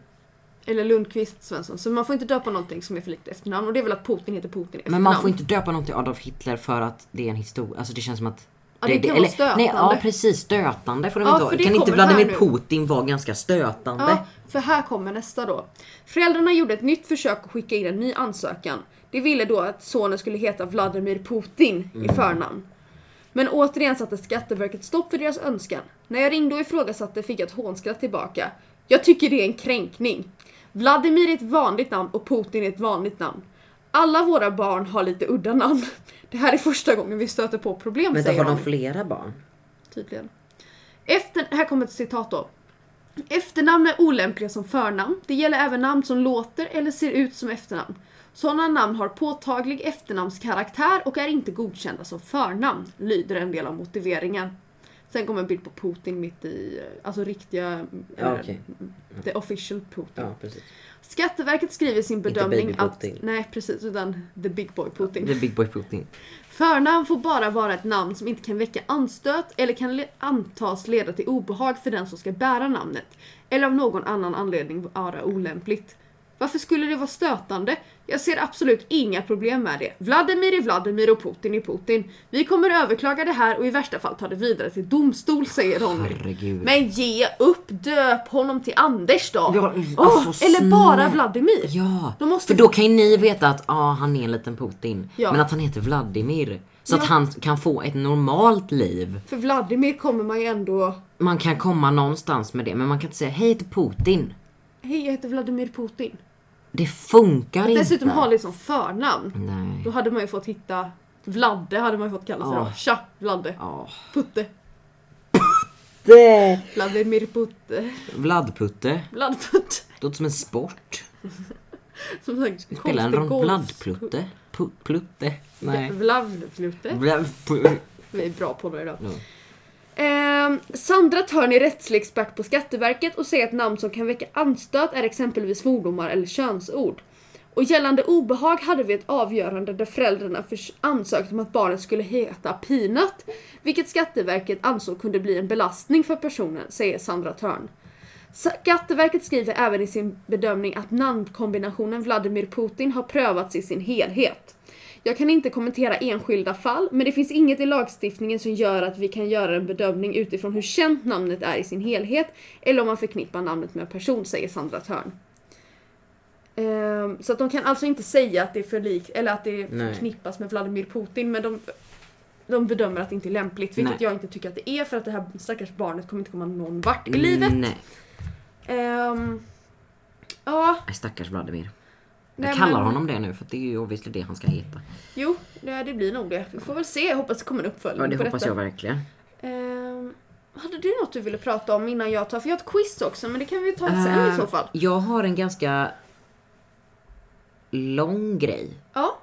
Speaker 2: Eller Lundqvist Svensson. Så man får inte döpa någonting som är för likt efternamn. Och det är väl att Putin heter Putin i efternamn.
Speaker 1: men man får inte döpa någon till Adolf Hitler för att det är en historia. Alltså det känns som att...
Speaker 2: Ja, det kan vara stötande.
Speaker 1: Nej, ja precis, stötande får de
Speaker 2: Ja,
Speaker 1: inte
Speaker 2: för
Speaker 1: vara.
Speaker 2: det
Speaker 1: Kan inte
Speaker 2: kommer här
Speaker 1: Vladimir
Speaker 2: nu.
Speaker 1: Putin vara ganska stötande?
Speaker 2: Ja, för här kommer nästa då. Föräldrarna gjorde ett nytt försök att skicka in en ny ansökan. De ville då att sonen skulle heta Vladimir Putin
Speaker 1: Mm.
Speaker 2: i förnamn. Men återigen satte Skatteverket stopp för deras önskan. När jag ringde och ifrågasatte fick jag ett hånskratt tillbaka. Jag tycker det är en kränkning. Vladimir är ett vanligt namn och Putin är ett vanligt namn. Alla våra barn har lite udda namn. Det här är första gången vi stöter på problem,
Speaker 1: Men då
Speaker 2: säger
Speaker 1: har de
Speaker 2: han
Speaker 1: flera barn.
Speaker 2: tydligen. Efter, här kommer ett citat då. Efternamn är olämpliga som förnamn. Det gäller även namn som låter eller ser ut som efternamn. Sådana namn har påtaglig efternamnskaraktär och är inte godkända som förnamn, lyder en del av motiveringen. Sen kommer en bild på Putin mitt i, eh, alltså riktiga,
Speaker 1: Ja,
Speaker 2: eh,
Speaker 1: okej.
Speaker 2: the official Putin.
Speaker 1: Ja, precis.
Speaker 2: Skatteverket skriver i sin
Speaker 1: Inte
Speaker 2: bedömning
Speaker 1: baby
Speaker 2: att,
Speaker 1: Putin.
Speaker 2: nej precis, utan the big boy Putin.
Speaker 1: The big boy Putin.
Speaker 2: Förnamn får bara vara ett namn som inte kan väcka anstöt eller kan le- antas leda till obehag för den som ska bära namnet. Eller av någon annan anledning vara olämpligt. Varför skulle det vara stötande? Jag ser absolut inga problem med det. Vladimir är Vladimir och Putin är Putin. Vi kommer överklaga det här och i värsta fall ta det vidare till domstol, säger Ronny.
Speaker 1: Herregud.
Speaker 2: Men ge upp! Döp honom till Anders då!
Speaker 1: Ja,
Speaker 2: Åh,
Speaker 1: alltså,
Speaker 2: eller bara
Speaker 1: snä-
Speaker 2: Vladimir!
Speaker 1: Ja,
Speaker 2: De måste-
Speaker 1: för då kan ju ni veta att ah, han är en liten Putin.
Speaker 2: Ja.
Speaker 1: Men att han heter Vladimir. Så
Speaker 2: Ja.
Speaker 1: att han kan få ett normalt liv.
Speaker 2: För Vladimir kommer man ju ändå...
Speaker 1: Man kan komma någonstans med det men man kan inte säga hej till Putin.
Speaker 2: Hej, jag heter Vladimir Putin.
Speaker 1: Det funkar
Speaker 2: Att
Speaker 1: inte.
Speaker 2: dessutom ha det som förnamn.
Speaker 1: Nej.
Speaker 2: Då hade man ju fått hitta Vladde hade man ju fått kalla sig
Speaker 1: Ja.
Speaker 2: då. Tja, Vladde.
Speaker 1: Ja.
Speaker 2: Putte.
Speaker 1: Det...
Speaker 2: Vladimir Putte.
Speaker 1: Vladputte.
Speaker 2: Vladputte.
Speaker 1: Låter som en sport.
Speaker 2: Som sagt,
Speaker 1: Spelar en
Speaker 2: konstig
Speaker 1: rond
Speaker 2: golf-
Speaker 1: Vladplutte. Pu- Plutte. Nej.
Speaker 2: Vladplutte.
Speaker 1: Vladpu-
Speaker 2: Vi är bra på det idag.
Speaker 1: Ja.
Speaker 2: Ehm, Sandra Törn är rättslig expert på Skatteverket och säger att namn som kan väcka anstöt är exempelvis svordomar eller könsord. Och gällande obehag hade vi ett avgörande där föräldrarna förs- ansökte om att barnet skulle heta Peanut, vilket Skatteverket ansåg kunde bli en belastning för personen, säger Sandra Törn. Skatteverket skriver även i sin bedömning att namnkombinationen Vladimir Putin har prövats i sin helhet. Jag kan inte kommentera enskilda fall, men det finns inget i lagstiftningen som gör att vi kan göra en bedömning utifrån hur känt namnet är i sin helhet, eller om man förknippar namnet med en person, säger Sandra Törn. Ehm, så att de kan alltså inte säga att det är för likt, eller att det
Speaker 1: Nej.
Speaker 2: förknippas med Vladimir Putin, men de, de bedömer att det inte är lämpligt, vilket
Speaker 1: Nej.
Speaker 2: jag inte tycker att det är, för att det här stackars barnet kommer inte komma någon vart i
Speaker 1: Mm.
Speaker 2: livet.
Speaker 1: Nej.
Speaker 2: Ehm, ja,
Speaker 1: Nej, stackars Vladimir. Jag
Speaker 2: Nej,
Speaker 1: kallar
Speaker 2: men-
Speaker 1: honom det nu för att det är ju obviously det han ska heta.
Speaker 2: jo, det, det blir nog det. Vi får väl se. Jag hoppas det kommer en
Speaker 1: Ja,
Speaker 2: uppföljning
Speaker 1: det
Speaker 2: på
Speaker 1: hoppas
Speaker 2: detta.
Speaker 1: jag verkligen.
Speaker 2: Ehm, hade du något du ville prata om innan jag tar? För jag har ett quiz också, men det kan vi ta sen Alltså, i
Speaker 1: Eh,
Speaker 2: så fall.
Speaker 1: Jag har en ganska lång grej.
Speaker 2: Ja,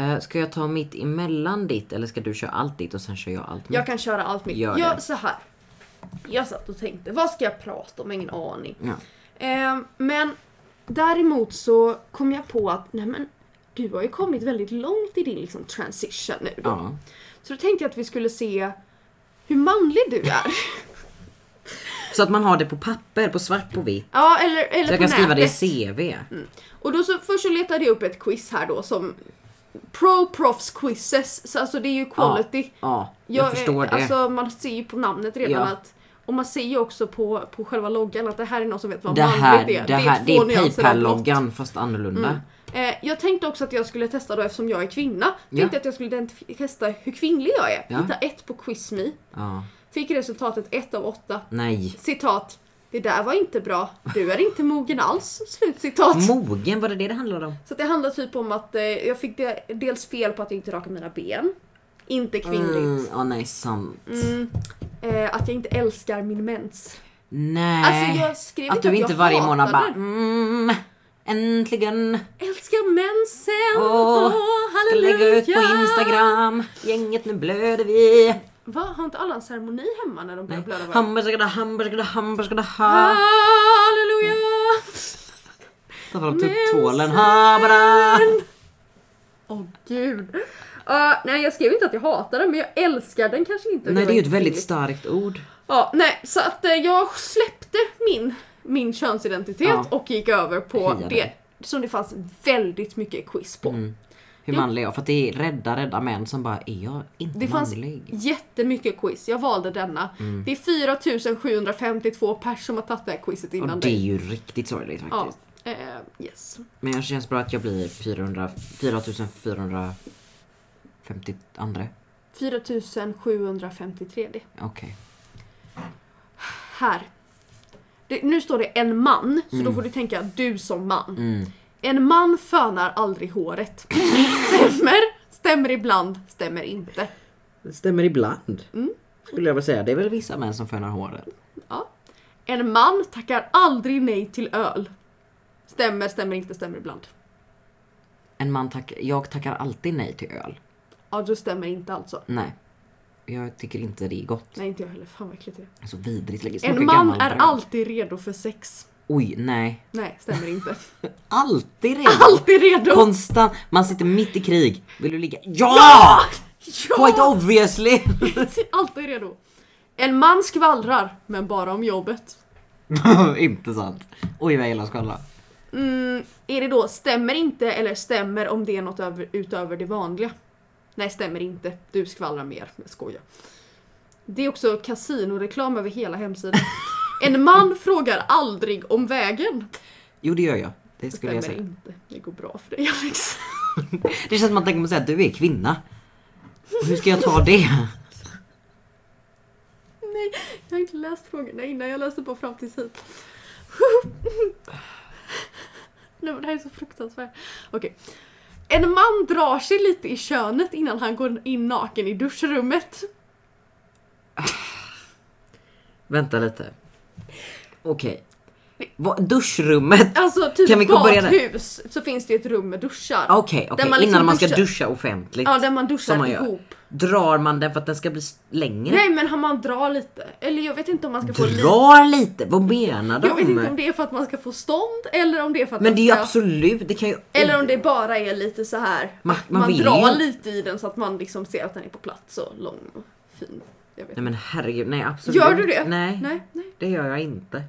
Speaker 1: Uh, ska jag ta mitt emellan ditt eller ska du köra allt ditt och sen kör jag allt mitt?
Speaker 2: jag kan köra allt mitt.
Speaker 1: Mm. Gör
Speaker 2: jag,
Speaker 1: det.
Speaker 2: så här. Jag satt och tänkte, vad ska jag prata om? Ingen aning.
Speaker 1: Ja.
Speaker 2: Ehm, men däremot så kom jag på att, nej men du har ju kommit väldigt långt i din liksom, transition nu då.
Speaker 1: Ja.
Speaker 2: Så då tänkte jag att vi skulle se hur manlig du är.
Speaker 1: Så att man har det på papper, på svart på vitt.
Speaker 2: Ja, eller, eller
Speaker 1: Så jag
Speaker 2: på
Speaker 1: kan skriva det i
Speaker 2: nätet.
Speaker 1: CV.
Speaker 2: Och då så, först så letade jag upp ett quiz här då som Pro Profs Quizzes, så alltså det är ju quality.
Speaker 1: Ja, ja, jag,
Speaker 2: Jag, eh,
Speaker 1: förstår det.
Speaker 2: Alltså man ser ju på namnet redan
Speaker 1: Ja.
Speaker 2: att och man ser ju också på, på själva loggan att det här är någon som vet vad
Speaker 1: det här,
Speaker 2: manligt
Speaker 1: det,
Speaker 2: är.
Speaker 1: här, det
Speaker 2: två
Speaker 1: är
Speaker 2: nyanser av blått.
Speaker 1: Paypal-loggan fast annorlunda.
Speaker 2: Eh, jag tänkte också att jag skulle testa då eftersom jag är kvinna.
Speaker 1: Ja.
Speaker 2: Tänkte att jag skulle identif- testa hur kvinnlig jag är.
Speaker 1: Ja.
Speaker 2: Hitta ett på QuizMe.
Speaker 1: Ja.
Speaker 2: Fick resultatet 1 av 8.
Speaker 1: Nej.
Speaker 2: Citat. Det där var inte bra. Du är inte mogen alls. Slutcitat.
Speaker 1: Mogen, var det det det handlade om?
Speaker 2: Så att det handlar typ om att eh, jag fick de, dels fel på att jag inte rakade mina ben. Inte kvinnligt.
Speaker 1: Åh nej, sant.
Speaker 2: Mm. Eh, att jag inte älskar min mens.
Speaker 1: Nej.
Speaker 2: Alltså jag skrev
Speaker 1: att du
Speaker 2: jag
Speaker 1: inte varje
Speaker 2: hatar
Speaker 1: månad bara
Speaker 2: den.
Speaker 1: mm, äntligen
Speaker 2: Älskar mensen!
Speaker 1: Åh,
Speaker 2: Åh,
Speaker 1: ska
Speaker 2: halleluja!
Speaker 1: lägga ut på Instagram. Gänget nu blöder vi.
Speaker 2: Va, har inte alla en ceremoni hemma när de börjar
Speaker 1: Nej.
Speaker 2: blöda varandra?
Speaker 1: Hamburgare, hamburgare, hamburgare, ha.
Speaker 2: Halleluja!
Speaker 1: Mm. Ta fram typ
Speaker 2: Mensen.
Speaker 1: tvålen, ha bara.
Speaker 2: Åh gud. Ja, nej jag skrev inte att jag hatar den men jag älskar den kanske inte.
Speaker 1: Nej det är ju ett väldigt
Speaker 2: kvinnligt.
Speaker 1: starkt ord.
Speaker 2: Ja, nej så att eh, jag släppte min, min könsidentitet
Speaker 1: Ja.
Speaker 2: och gick över på
Speaker 1: Heja Mm.
Speaker 2: det som det fanns väldigt mycket quiz på.
Speaker 1: Hur manlig jag För att det är rädda, rädda män som bara är jag inte
Speaker 2: Det fanns
Speaker 1: manlig? Mm.
Speaker 2: jättemycket quiz, jag valde denna. Det är 4752 pers som har tagit det här quizet innan
Speaker 1: Och det är
Speaker 2: dig.
Speaker 1: ju riktigt sorgligt faktiskt.
Speaker 2: Ja, eh, yes.
Speaker 1: Men jag känns bra att jag blir 400, 4450 andra.
Speaker 2: 4753 det.
Speaker 1: Okej.
Speaker 2: Här. Det, nu står det en man, så då
Speaker 1: Mm.
Speaker 2: får du tänka du som man.
Speaker 1: Mm.
Speaker 2: En man fönar aldrig håret. Stämmer, stämmer ibland, stämmer inte.
Speaker 1: Det stämmer ibland.
Speaker 2: Mm.
Speaker 1: Skulle jag vilja säga. Det är väl vissa män som fönar håret.
Speaker 2: Ja. En man tackar aldrig nej till öl. Stämmer, stämmer inte, stämmer ibland.
Speaker 1: En man tack, jag tackar alltid nej till öl.
Speaker 2: Ja, då stämmer inte alltså.
Speaker 1: Nej. Jag tycker inte det är gott.
Speaker 2: Nej, inte jag heller. Fan vad äckligt det är.
Speaker 1: Det är Så vidrigt. Det smakar
Speaker 2: En man
Speaker 1: gammal
Speaker 2: är
Speaker 1: bröd.
Speaker 2: alltid redo för sex.
Speaker 1: Oj, nej.
Speaker 2: Nej, stämmer inte.
Speaker 1: Alltid redo.
Speaker 2: Alltid redo!
Speaker 1: Konstant. Man sitter mitt i krig. Vill du ligga? Ja! Quite
Speaker 2: Ja!
Speaker 1: obviously!
Speaker 2: Alltid redo. En man skvallrar, men bara om jobbet.
Speaker 1: inte sant. Oj vad jag gillar att skvallra.
Speaker 2: Mm, är det då stämmer inte eller stämmer om det är något över, utöver det vanliga? Nej, stämmer inte. Du skvallrar mer. Jag skojar. Det är också kasinoreklam över hela hemsidan. En man frågar aldrig om vägen.
Speaker 1: Jo det gör jag. Det
Speaker 2: Det
Speaker 1: skulle jag
Speaker 2: stämmer
Speaker 1: säga.
Speaker 2: inte. Det går bra för dig Alex.
Speaker 1: Det känns som att man tänker på att säga att du är kvinna. Och Hur ska jag ta det?
Speaker 2: Nej, jag har inte läst frågorna innan. Jag läste på fram tills hit. Nej, men det här är så fruktansvärt. Okej. En man drar sig lite i könet innan han går in naken i duschrummet.
Speaker 1: Vänta lite. Okej. Vad- Duschrummet.
Speaker 2: Alltså typ
Speaker 1: Kan vi gå och börja där?
Speaker 2: badhus så finns det ju ett rum med duschar.
Speaker 1: Ah, Okej, okej.
Speaker 2: Där man liksom
Speaker 1: innan man ska
Speaker 2: duschar.
Speaker 1: duscha offentligt.
Speaker 2: Ja, där man duschar
Speaker 1: Som man gör.
Speaker 2: ihop.
Speaker 1: Drar man den för att den ska bli s- längre?
Speaker 2: Nej men han- man drar lite. Eller jag vet inte om man ska få lite.
Speaker 1: Drar lite? Vad menar de?
Speaker 2: Jag vet inte om det är för att man ska få stånd eller om det är för att
Speaker 1: Men
Speaker 2: man
Speaker 1: det är ju
Speaker 2: ska...
Speaker 1: absolut, det kan ju...
Speaker 2: Eller om det bara är lite så här.
Speaker 1: Man-
Speaker 2: att
Speaker 1: man
Speaker 2: man
Speaker 1: vill
Speaker 2: drar
Speaker 1: ju.
Speaker 2: lite i den så att man liksom ser att den är på plats och lång och fin. Jag vet.
Speaker 1: Nej men herregud, nej absolut.
Speaker 2: Gör du det?
Speaker 1: Nej,
Speaker 2: Nej, nej.
Speaker 1: det gör jag inte.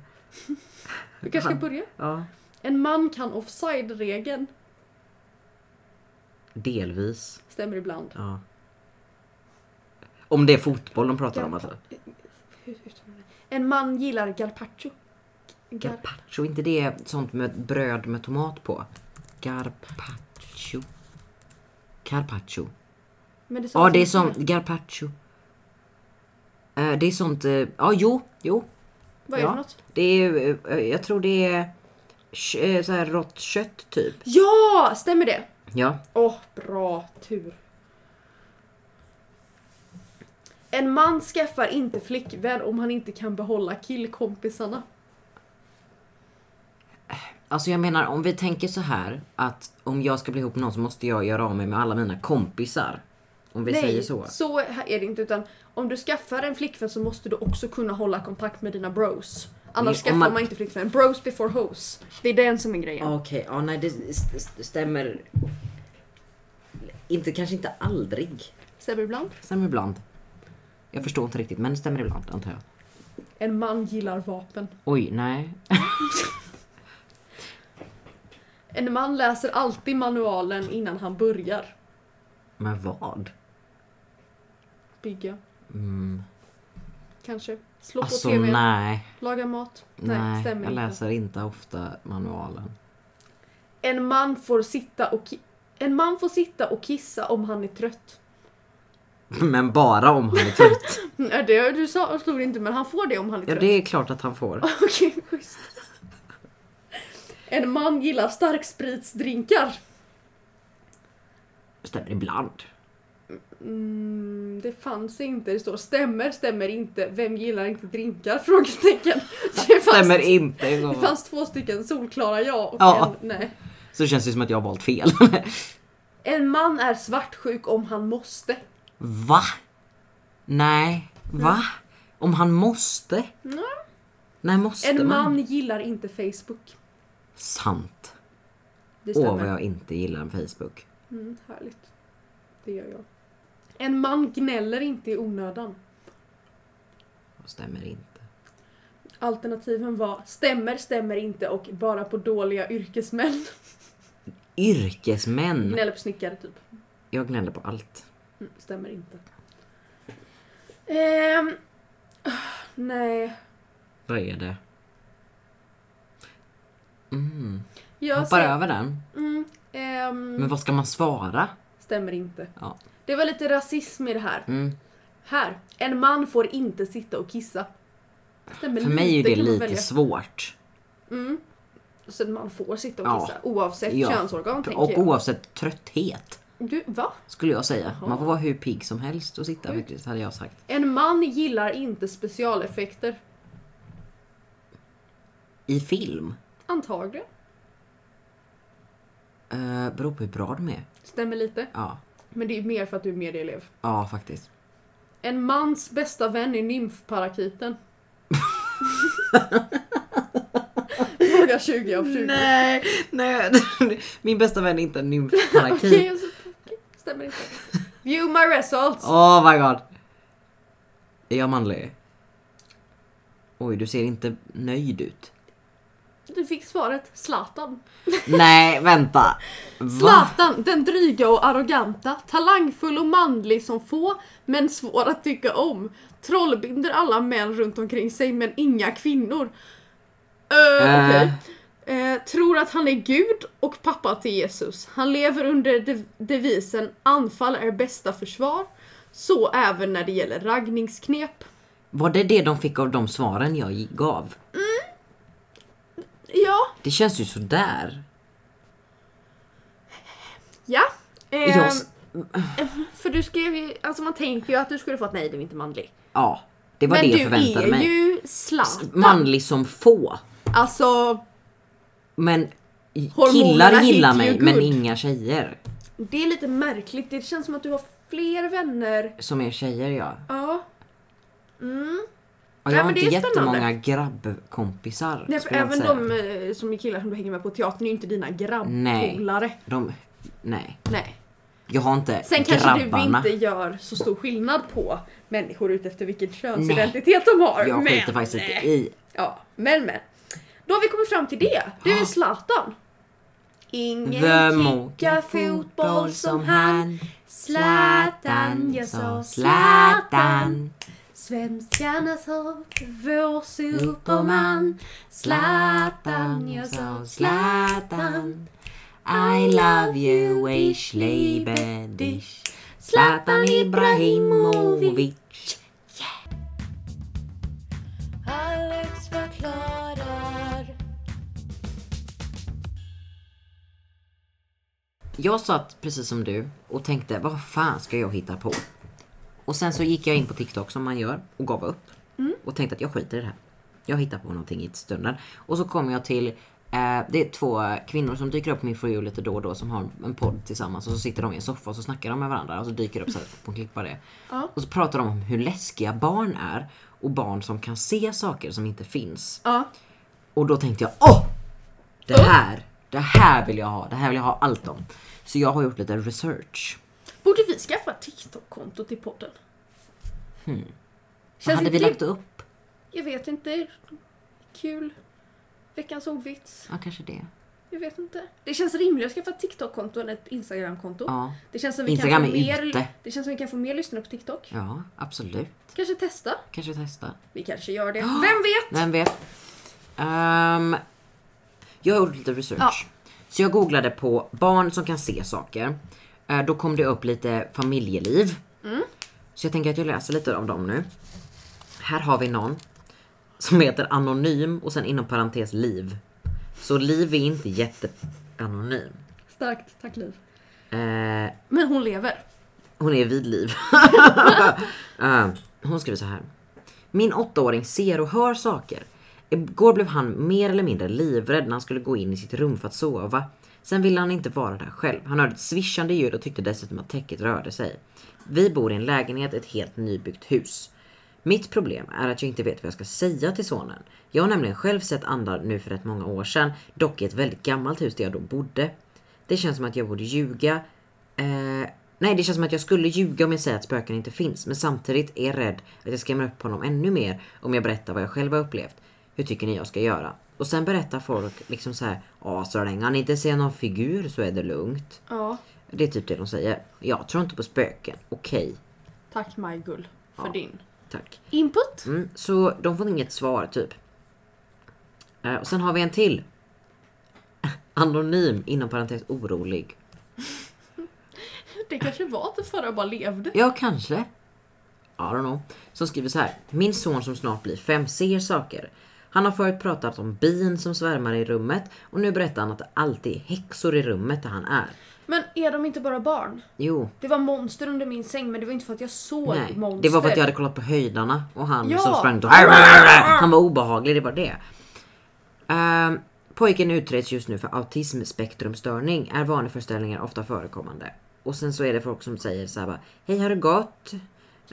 Speaker 2: Du kanske ska börja?
Speaker 1: Ja,
Speaker 2: En man kan offside-regeln.
Speaker 1: delvis.
Speaker 2: Stämmer ibland.
Speaker 1: Ja. Om det är fotboll de pratar om alltså.
Speaker 2: En man gillar gazpacho. Gar...
Speaker 1: Garpacho, inte det sånt med bröd med tomat på? Garpacho. Carpaccio.
Speaker 2: Men det
Speaker 1: Ja det är som garpacho. Eh, Det är sånt, eh, ja jo, jo.
Speaker 2: Vad är
Speaker 1: ja.
Speaker 2: det för något?
Speaker 1: Det är, eh, jag tror det är kö- eh, så här rått kött typ.
Speaker 2: Ja, stämmer det?
Speaker 1: Ja.
Speaker 2: Åh, bra tur. En man skaffar inte flickvän om han inte kan behålla killkompisarna.
Speaker 1: Alltså jag menar om vi tänker så här att om jag ska bli ihop med någon så måste jag göra av mig med alla mina kompisar. Om vi säger så.
Speaker 2: så är det inte. Utan om du skaffar en flickvän så måste du också kunna hålla kontakt med dina bros. Annars
Speaker 1: Men om
Speaker 2: skaffar
Speaker 1: man-
Speaker 2: man... inte flickvän. Bros before hoes. Det är den som är grejen.
Speaker 1: Okej, ja nej det st- st- stämmer. Inte, kanske inte aldrig.
Speaker 2: Stämmer ibland?
Speaker 1: Stämmer ibland. Jag förstår inte riktigt men det stämmer ibland antar jag.
Speaker 2: En man gillar vapen.
Speaker 1: Oj, nej.
Speaker 2: En man läser alltid manualen innan han börjar
Speaker 1: Men vad?
Speaker 2: bygga.
Speaker 1: Mm.
Speaker 2: Kanske. Slå på
Speaker 1: Alltså
Speaker 2: TV.
Speaker 1: nej.
Speaker 2: Laga mat. Nej,
Speaker 1: Nej,
Speaker 2: stämmer
Speaker 1: jag
Speaker 2: inte.
Speaker 1: läser inte ofta manualen.
Speaker 2: En man får sitta och ki- en man får sitta och kissa om han är trött.
Speaker 1: Men bara om han är trött.
Speaker 2: Nej, Mm, äh, det du sa slog det inte men han får det om han är
Speaker 1: Ja
Speaker 2: trött.
Speaker 1: det är klart att han får.
Speaker 2: Okej, schysst. En man gillar starkspritsdrinkar.
Speaker 1: Stämmer ibland.
Speaker 2: Mm, det fanns inte. Det står stämmer, stämmer inte. Vem gillar inte drinkar? Frågetecken. Det fanns,
Speaker 1: Stämmer inte i så
Speaker 2: Det
Speaker 1: fall.
Speaker 2: fanns två stycken solklara ja och
Speaker 1: Ja.
Speaker 2: en nej.
Speaker 1: Så känns det som att jag har valt fel.
Speaker 2: En man är svartsjuk om han måste.
Speaker 1: Va? Nej. Va? Om han måste?
Speaker 2: Ja.
Speaker 1: Nej, måste
Speaker 2: En
Speaker 1: man?
Speaker 2: man gillar inte Facebook.
Speaker 1: Sant.
Speaker 2: Det stämmer.
Speaker 1: Åh, vad jag inte gillar en Facebook.
Speaker 2: Mm, härligt. Det gör jag. En man gnäller inte i onödan.
Speaker 1: Stämmer inte.
Speaker 2: Alternativen var stämmer, stämmer inte och bara på dåliga yrkesmän.
Speaker 1: Yrkesmän.
Speaker 2: Gnäller på snickare typ.
Speaker 1: Jag gnäller på allt.
Speaker 2: Mm, stämmer inte. Ehm, nej.
Speaker 1: Vad är det? Mm.
Speaker 2: Jag
Speaker 1: Hoppar
Speaker 2: säger-
Speaker 1: över den.
Speaker 2: Mm, ehm,
Speaker 1: Men vad ska man svara?
Speaker 2: Stämmer inte.
Speaker 1: Ja.
Speaker 2: Det var lite rasism i det här.
Speaker 1: Mm.
Speaker 2: Här. En man får inte sitta och kissa. Stämmer
Speaker 1: För mig är ju det
Speaker 2: kan man
Speaker 1: lite
Speaker 2: välja.
Speaker 1: svårt.
Speaker 2: Mm. Så en man får sitta och
Speaker 1: Ja.
Speaker 2: kissa oavsett
Speaker 1: Ja.
Speaker 2: könsorgan tänker
Speaker 1: Och
Speaker 2: jag.
Speaker 1: oavsett trötthet
Speaker 2: Du, va?
Speaker 1: skulle jag säga.
Speaker 2: Jaha.
Speaker 1: Man får vara hur pigg som helst och sitta
Speaker 2: Sjukt.
Speaker 1: faktiskt hade jag sagt.
Speaker 2: En man gillar inte specialeffekter.
Speaker 1: I film.
Speaker 2: Antagligen.
Speaker 1: Uh, beror på hur bra de är.
Speaker 2: Stämmer lite.
Speaker 1: Ja,
Speaker 2: Men det är mer för att du är medieelev.
Speaker 1: ja faktiskt.
Speaker 2: En mans bästa vän är nymfparakiten. Fråga 20 av 20.
Speaker 1: Nej, nej. Min bästa vän är inte en
Speaker 2: Okej,
Speaker 1: nymfparakit.
Speaker 2: alltså, okej, stämmer inte. View my results!
Speaker 1: Oh my god. Är jag manlig? Oj, du ser inte nöjd ut.
Speaker 2: Du fick svaret Zlatan.
Speaker 1: Nej, vänta. Va?
Speaker 2: Zlatan, den dryga och arroganta, talangfull och manlig som få, men svår att tycka om. Trollbinder alla män runt omkring sig, men inga kvinnor. Eh,
Speaker 1: Eh.
Speaker 2: okej. Eh, tror att han är gud och pappa till Jesus. Han lever under dev- devisen anfall är bästa försvar. Så även när det gäller raggningsknep.
Speaker 1: Var det det de fick av de svaren jag gi- gav?
Speaker 2: Ja,
Speaker 1: Det känns ju sådär.
Speaker 2: ja. Eh,
Speaker 1: Jag, s-
Speaker 2: För du skrev ju, alltså man tänker ju att du skulle fått nej, du är inte manlig.
Speaker 1: ja, det var
Speaker 2: Men
Speaker 1: det jag
Speaker 2: du
Speaker 1: förväntade
Speaker 2: är
Speaker 1: mig.
Speaker 2: ju Zlatan.
Speaker 1: Manlig som få.
Speaker 2: Alltså,
Speaker 1: Men i-
Speaker 2: Hormonerna
Speaker 1: killar gillar
Speaker 2: hit you
Speaker 1: mig, men
Speaker 2: good.
Speaker 1: inga tjejer.
Speaker 2: det är lite märkligt. Det känns som att du har fler vänner.
Speaker 1: Som är tjejer, ja.
Speaker 2: Ja. Mm.
Speaker 1: Och
Speaker 2: Nej,
Speaker 1: jag har
Speaker 2: men det
Speaker 1: inte
Speaker 2: är spännande.
Speaker 1: jättemånga grabbkompisar.
Speaker 2: Nej, för
Speaker 1: skulle jag
Speaker 2: även
Speaker 1: inte
Speaker 2: de
Speaker 1: säga.
Speaker 2: eh, som är killar som du hänger med på teatern är ju inte dina grabbpolare.
Speaker 1: de... Nej.
Speaker 2: Nej.
Speaker 1: Jag har inte
Speaker 2: Sen kanske
Speaker 1: grabbarna.
Speaker 2: du inte gör så stor skillnad på människor utefter vilken könsidentitet de har.
Speaker 1: jag skiter
Speaker 2: men,
Speaker 1: faktiskt
Speaker 2: eh,
Speaker 1: i...
Speaker 2: Ja, men men. Då har vi kommit fram till det. Du
Speaker 1: Ah.
Speaker 2: är Zlatan. Ingen kickar fotboll som han. Zlatan, jag sa Zlatan. Svenskarna sa vår superman. Zlatan, jag sa Zlatan.
Speaker 1: I love you, ich liebe dich Zlatan Ibrahimovic
Speaker 3: Alex förklarar.
Speaker 1: Jag satt precis som du och tänkte vad fan ska jag hitta på? Och sen så gick jag in på TikTok som man gör och gav upp. Och tänkte att jag skiter i det här. Jag hittar på någonting i stunden. Och så kom jag till eh, det är två kvinnor som dyker upp på min For You lite då och då som har en podd tillsammans och så sitter de i en soffa och så snackar de med varandra och så dyker det upp så här på en klick bara det.
Speaker 2: Ja.
Speaker 1: Och så pratar de om hur läskiga barn är och barn som kan se saker som inte finns.
Speaker 2: Ja.
Speaker 1: Och då tänkte jag åh! Det här, det här vill jag ha, det här vill jag ha allt om. Så jag har gjort lite research.
Speaker 2: Borde vi skaffa TikTok-konto till podden?
Speaker 1: Vad
Speaker 2: Känns
Speaker 1: Hmm. hade
Speaker 2: inte
Speaker 1: vi
Speaker 2: det,
Speaker 1: lagt upp?
Speaker 2: jag vet inte, kul. Veckans ordvits.
Speaker 1: Ja kanske det.
Speaker 2: Jag vet inte. Det känns rimligare att skaffa ett TikTok-konto än ett Instagram-konto.
Speaker 1: Ja,
Speaker 2: Det känns som vi
Speaker 1: Instagram
Speaker 2: kan
Speaker 1: är
Speaker 2: få mer,
Speaker 1: ute.
Speaker 2: Det känns som vi kan få mer lyssnare på TikTok.
Speaker 1: ja absolut.
Speaker 2: Kanske testa.
Speaker 1: Kanske testa.
Speaker 2: Vi kanske gör det. Vem vet?
Speaker 1: Vem vet? Ehm, jag har gjort lite research.
Speaker 2: Ja.
Speaker 1: Så jag googlade på barn som kan se saker. Eh, då kom det upp lite familjeliv. Så jag tänker att jag läser lite av dem nu. Här har vi någon som heter anonym och sen inom parentes liv. Så liv är inte jätteanonym.
Speaker 2: Starkt, tack Liv.
Speaker 1: Eh,
Speaker 2: Men hon lever.
Speaker 1: Hon är vid liv. Eh, hon skriver så här. Min åttaåring ser och hör saker. Igår blev han mer eller mindre livrädd när han skulle gå in i sitt rum för att sova. Sen ville han inte vara där själv. Han hörde ett svischande ljud och tyckte dessutom att täcket rörde sig. Vi bor i en lägenhet i ett helt nybyggt hus. Mitt problem är att jag inte vet vad jag ska säga till sonen. Jag har nämligen själv sett andar nu för rätt många år sedan, dock i ett väldigt gammalt hus där jag då bodde. Det känns som att jag borde ljuga. Eh, nej, det känns som att jag skulle ljuga om jag säger att spöken inte finns, men samtidigt är jag rädd att jag skrämmer upp honom ännu mer om jag berättar vad jag själv har upplevt. Hur tycker ni jag ska göra? Och sen berättar folk liksom så här, ja så länge han inte ser någon figur så är det lugnt.
Speaker 2: Ja,
Speaker 1: Det är typ det de säger. Jag tror inte på spöken. Okej,
Speaker 2: tack Majgull för
Speaker 1: Ja.
Speaker 2: din.
Speaker 1: tack.
Speaker 2: Input?
Speaker 1: Mm, så de får inget svar typ. Eh, och sen har vi en till. Anonym inom parentes orolig.
Speaker 2: Det kanske var att det förra bara levde.
Speaker 1: Ja, kanske. I don't know. Som skriver så här. Min son som snart blir fem ser saker. Han har förut pratat om bin som svärmar i rummet och nu berättar han att det alltid är häxor i rummet där han är.
Speaker 2: Men är de inte bara barn?
Speaker 1: Jo,
Speaker 2: Det var monster under min säng men det var inte för att jag såg
Speaker 1: nej.
Speaker 2: monster.
Speaker 1: Det var för att jag hade kollat på höjdarna och han
Speaker 2: Ja.
Speaker 1: som sprang då. Han var obehaglig, det var det. Ehm, pojken utreds just nu för autismspektrumstörning. Är vaneföreställningar ofta förekommande? Och sen så är det folk som säger så här bara, Hej har det gått?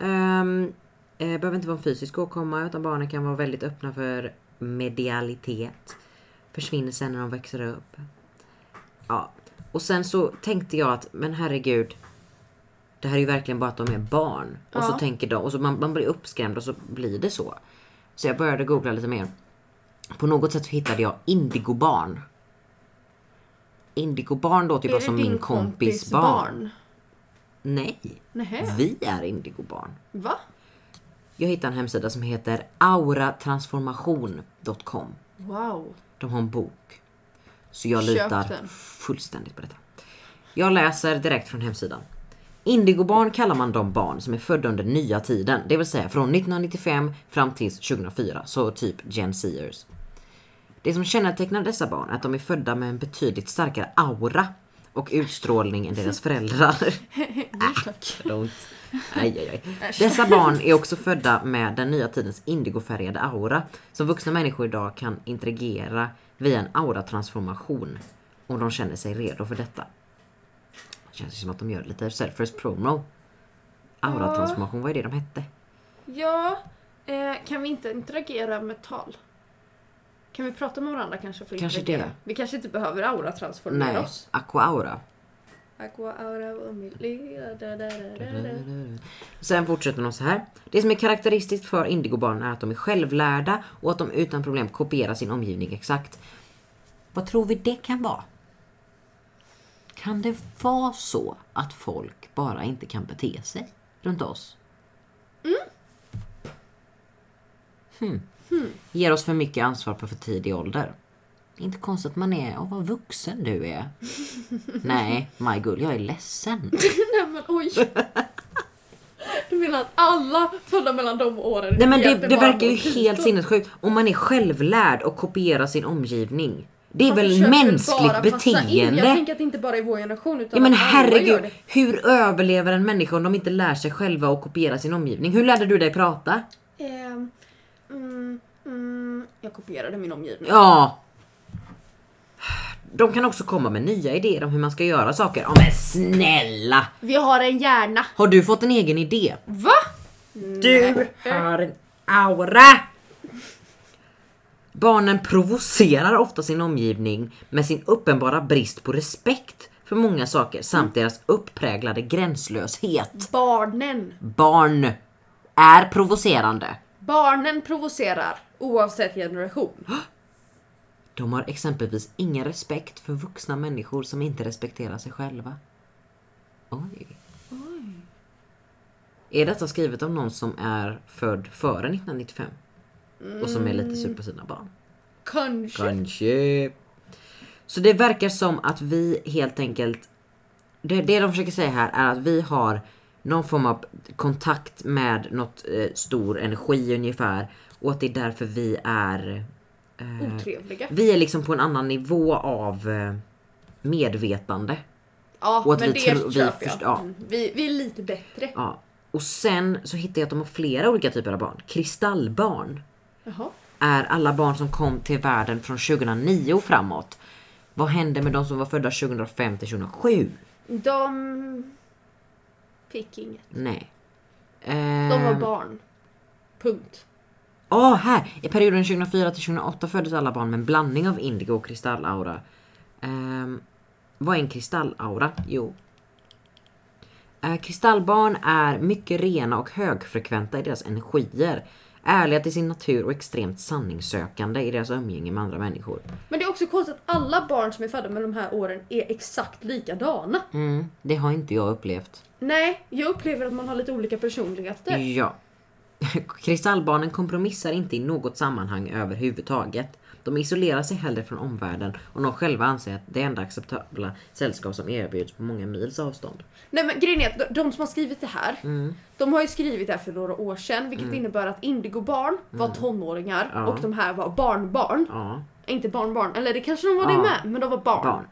Speaker 1: Ehm, eh, behöver inte vara en fysisk åkomma utan barnen kan vara väldigt öppna för medialitet. Försvinner sen när de växer upp. Ja. Och sen så tänkte jag att men herregud. Det här är ju verkligen bara att de är barn. Och så
Speaker 2: Ja.
Speaker 1: tänker de och så man, man blir uppskrämd och så blir det så. Så jag började googla lite mer. På något sätt så hittade jag indigobarn. Indigobarn låter ju bara som min kompis barn. Nej,
Speaker 2: Nähä,
Speaker 1: vi är indigobarn.
Speaker 2: va?
Speaker 1: Jag hittade en hemsida som heter auratransformation.com.
Speaker 2: Wow.
Speaker 1: De har en bok. Så jag
Speaker 2: Köp
Speaker 1: litar
Speaker 2: den.
Speaker 1: fullständigt på detta. Jag läser direkt från hemsidan. Indigobarn kallar man de barn som är födda under nya tiden, det vill säga från 1995 fram till 2004, så typ Gen Zers. Det som kännetecknar dessa barn är att de är födda med en betydligt starkare aura och utstrålning än deras föräldrar. Långt. Aj, aj, aj. Dessa barn är också födda med den nya tidens indigofärgade aura. Som vuxna människor idag kan interagera via en auratransformation. Om de känner sig redo för detta. Det känns ju som att de gör lite self-first promo. Auratransformation, vad är det de hette?
Speaker 2: Ja, eh, kan vi inte interagera med tal? Kan vi prata med varandra kanske? För att
Speaker 1: Kanske
Speaker 2: interagera?
Speaker 1: det.
Speaker 2: Vi kanske inte behöver aura transformera
Speaker 1: Nej,
Speaker 2: oss.
Speaker 1: Aqua Aura.
Speaker 2: Aqua aura var min lilla da, da, da, da, da.
Speaker 1: Sen fortsätter de så här. Det som är karaktäristiskt för indigobarnen är att de är självlärda och att de utan problem kopierar sin omgivning exakt. Vad tror vi det kan vara? Kan det vara så att folk bara inte kan bete sig runt oss? Hmm. Ger oss för mycket ansvar på för tidig ålder. Inte konstigt att man är, åh vad vuxen du är. Nej, my gull, jag är ledsen.
Speaker 2: Nej men oj. Du menar att alla födda mellan de åren
Speaker 1: Nej men det,
Speaker 2: egentligen
Speaker 1: det
Speaker 2: bara
Speaker 1: verkar ju
Speaker 2: mår
Speaker 1: helt
Speaker 2: skit.
Speaker 1: sinnessjukt om man är självlärd och kopierar sin omgivning. Det är
Speaker 2: Man
Speaker 1: väl
Speaker 2: försöker
Speaker 1: mänskligt
Speaker 2: bara passa in. Jag
Speaker 1: beteende?
Speaker 2: tänker att det inte bara är vår generation utan
Speaker 1: Ja men
Speaker 2: att alla gör
Speaker 1: herregud,
Speaker 2: det.
Speaker 1: hur överlever en människa om de inte lär sig själva och kopiera sin omgivning? Hur lärde du dig prata?
Speaker 2: Ehm, mm, mm, jag kopierade min omgivning.
Speaker 1: Ja. De kan också komma med nya idéer om hur man ska göra saker. Ja men snälla!
Speaker 2: Vi har en hjärna.
Speaker 1: Har du fått en egen idé?
Speaker 2: Va?
Speaker 1: Du har en aura! Barnen provocerar ofta sin omgivning med sin uppenbara brist på respekt för många saker samt deras uppräglade gränslöshet.
Speaker 2: Barnen.
Speaker 1: Barn är provocerande.
Speaker 2: Barnen provocerar oavsett generation.
Speaker 1: De har exempelvis ingen respekt för vuxna människor som inte respekterar sig själva. Oj. Är detta skrivet av någon som är född före 1995? Och som är lite sur på sina barn?
Speaker 2: Kanske.
Speaker 1: Kanske. Så det verkar som att vi helt enkelt... Det, det de försöker säga här är att vi har någon form av kontakt med något eh, stor energi ungefär. Och att det är därför vi är... Eh,
Speaker 2: Otrevliga.
Speaker 1: vi är liksom på en annan nivå av eh, medvetande.
Speaker 2: Ja,
Speaker 1: Och att
Speaker 2: men
Speaker 1: vi
Speaker 2: det
Speaker 1: tror- vi
Speaker 2: köper
Speaker 1: först-
Speaker 2: jag.
Speaker 1: ja.
Speaker 2: Mm. Vi, vi är lite bättre.
Speaker 1: Ja. Och sen så hittade jag att de har flera olika typer av barn. Kristallbarn
Speaker 2: Jaha.
Speaker 1: är alla barn som kom till världen från 2009 och framåt. Vad hände med de som var födda 2005 till 2007?
Speaker 2: De fick inget.
Speaker 1: Nej.
Speaker 2: De
Speaker 1: Mm.
Speaker 2: var barn. Punkt.
Speaker 1: Ja, ah, här! I perioden 2004 till 2008 föddes alla barn med en blandning av indigo och kristallaura. Ehm, vad är en kristallaura? Jo. Eh, kristallbarn är mycket rena och högfrekventa i deras energier. Ärliga till sin natur och extremt sanningssökande i deras umgänge med andra människor.
Speaker 2: Men det är också konstigt att alla barn som är födda med de här åren är exakt likadana.
Speaker 1: Mm, det har inte jag upplevt.
Speaker 2: Nej, jag upplever att man har lite olika personligheter.
Speaker 1: Ja. Kristallbarnen kompromissar inte i något sammanhang överhuvudtaget. De isolerar sig hellre från omvärlden och de själva anser att det enda acceptabla sällskap som erbjuds på många mils avstånd.
Speaker 2: Nej men grejen är att de- de som har skrivit det här,
Speaker 1: Mm.
Speaker 2: de har ju skrivit det här för några år sedan vilket innebär att indigobarn var tonåringar
Speaker 1: Mm. Ja.
Speaker 2: och de här var barnbarn.
Speaker 1: Ja,
Speaker 2: Inte barnbarnbarn, eller det kanske de var det
Speaker 1: Ja.
Speaker 2: med, men de var barn.
Speaker 1: barn.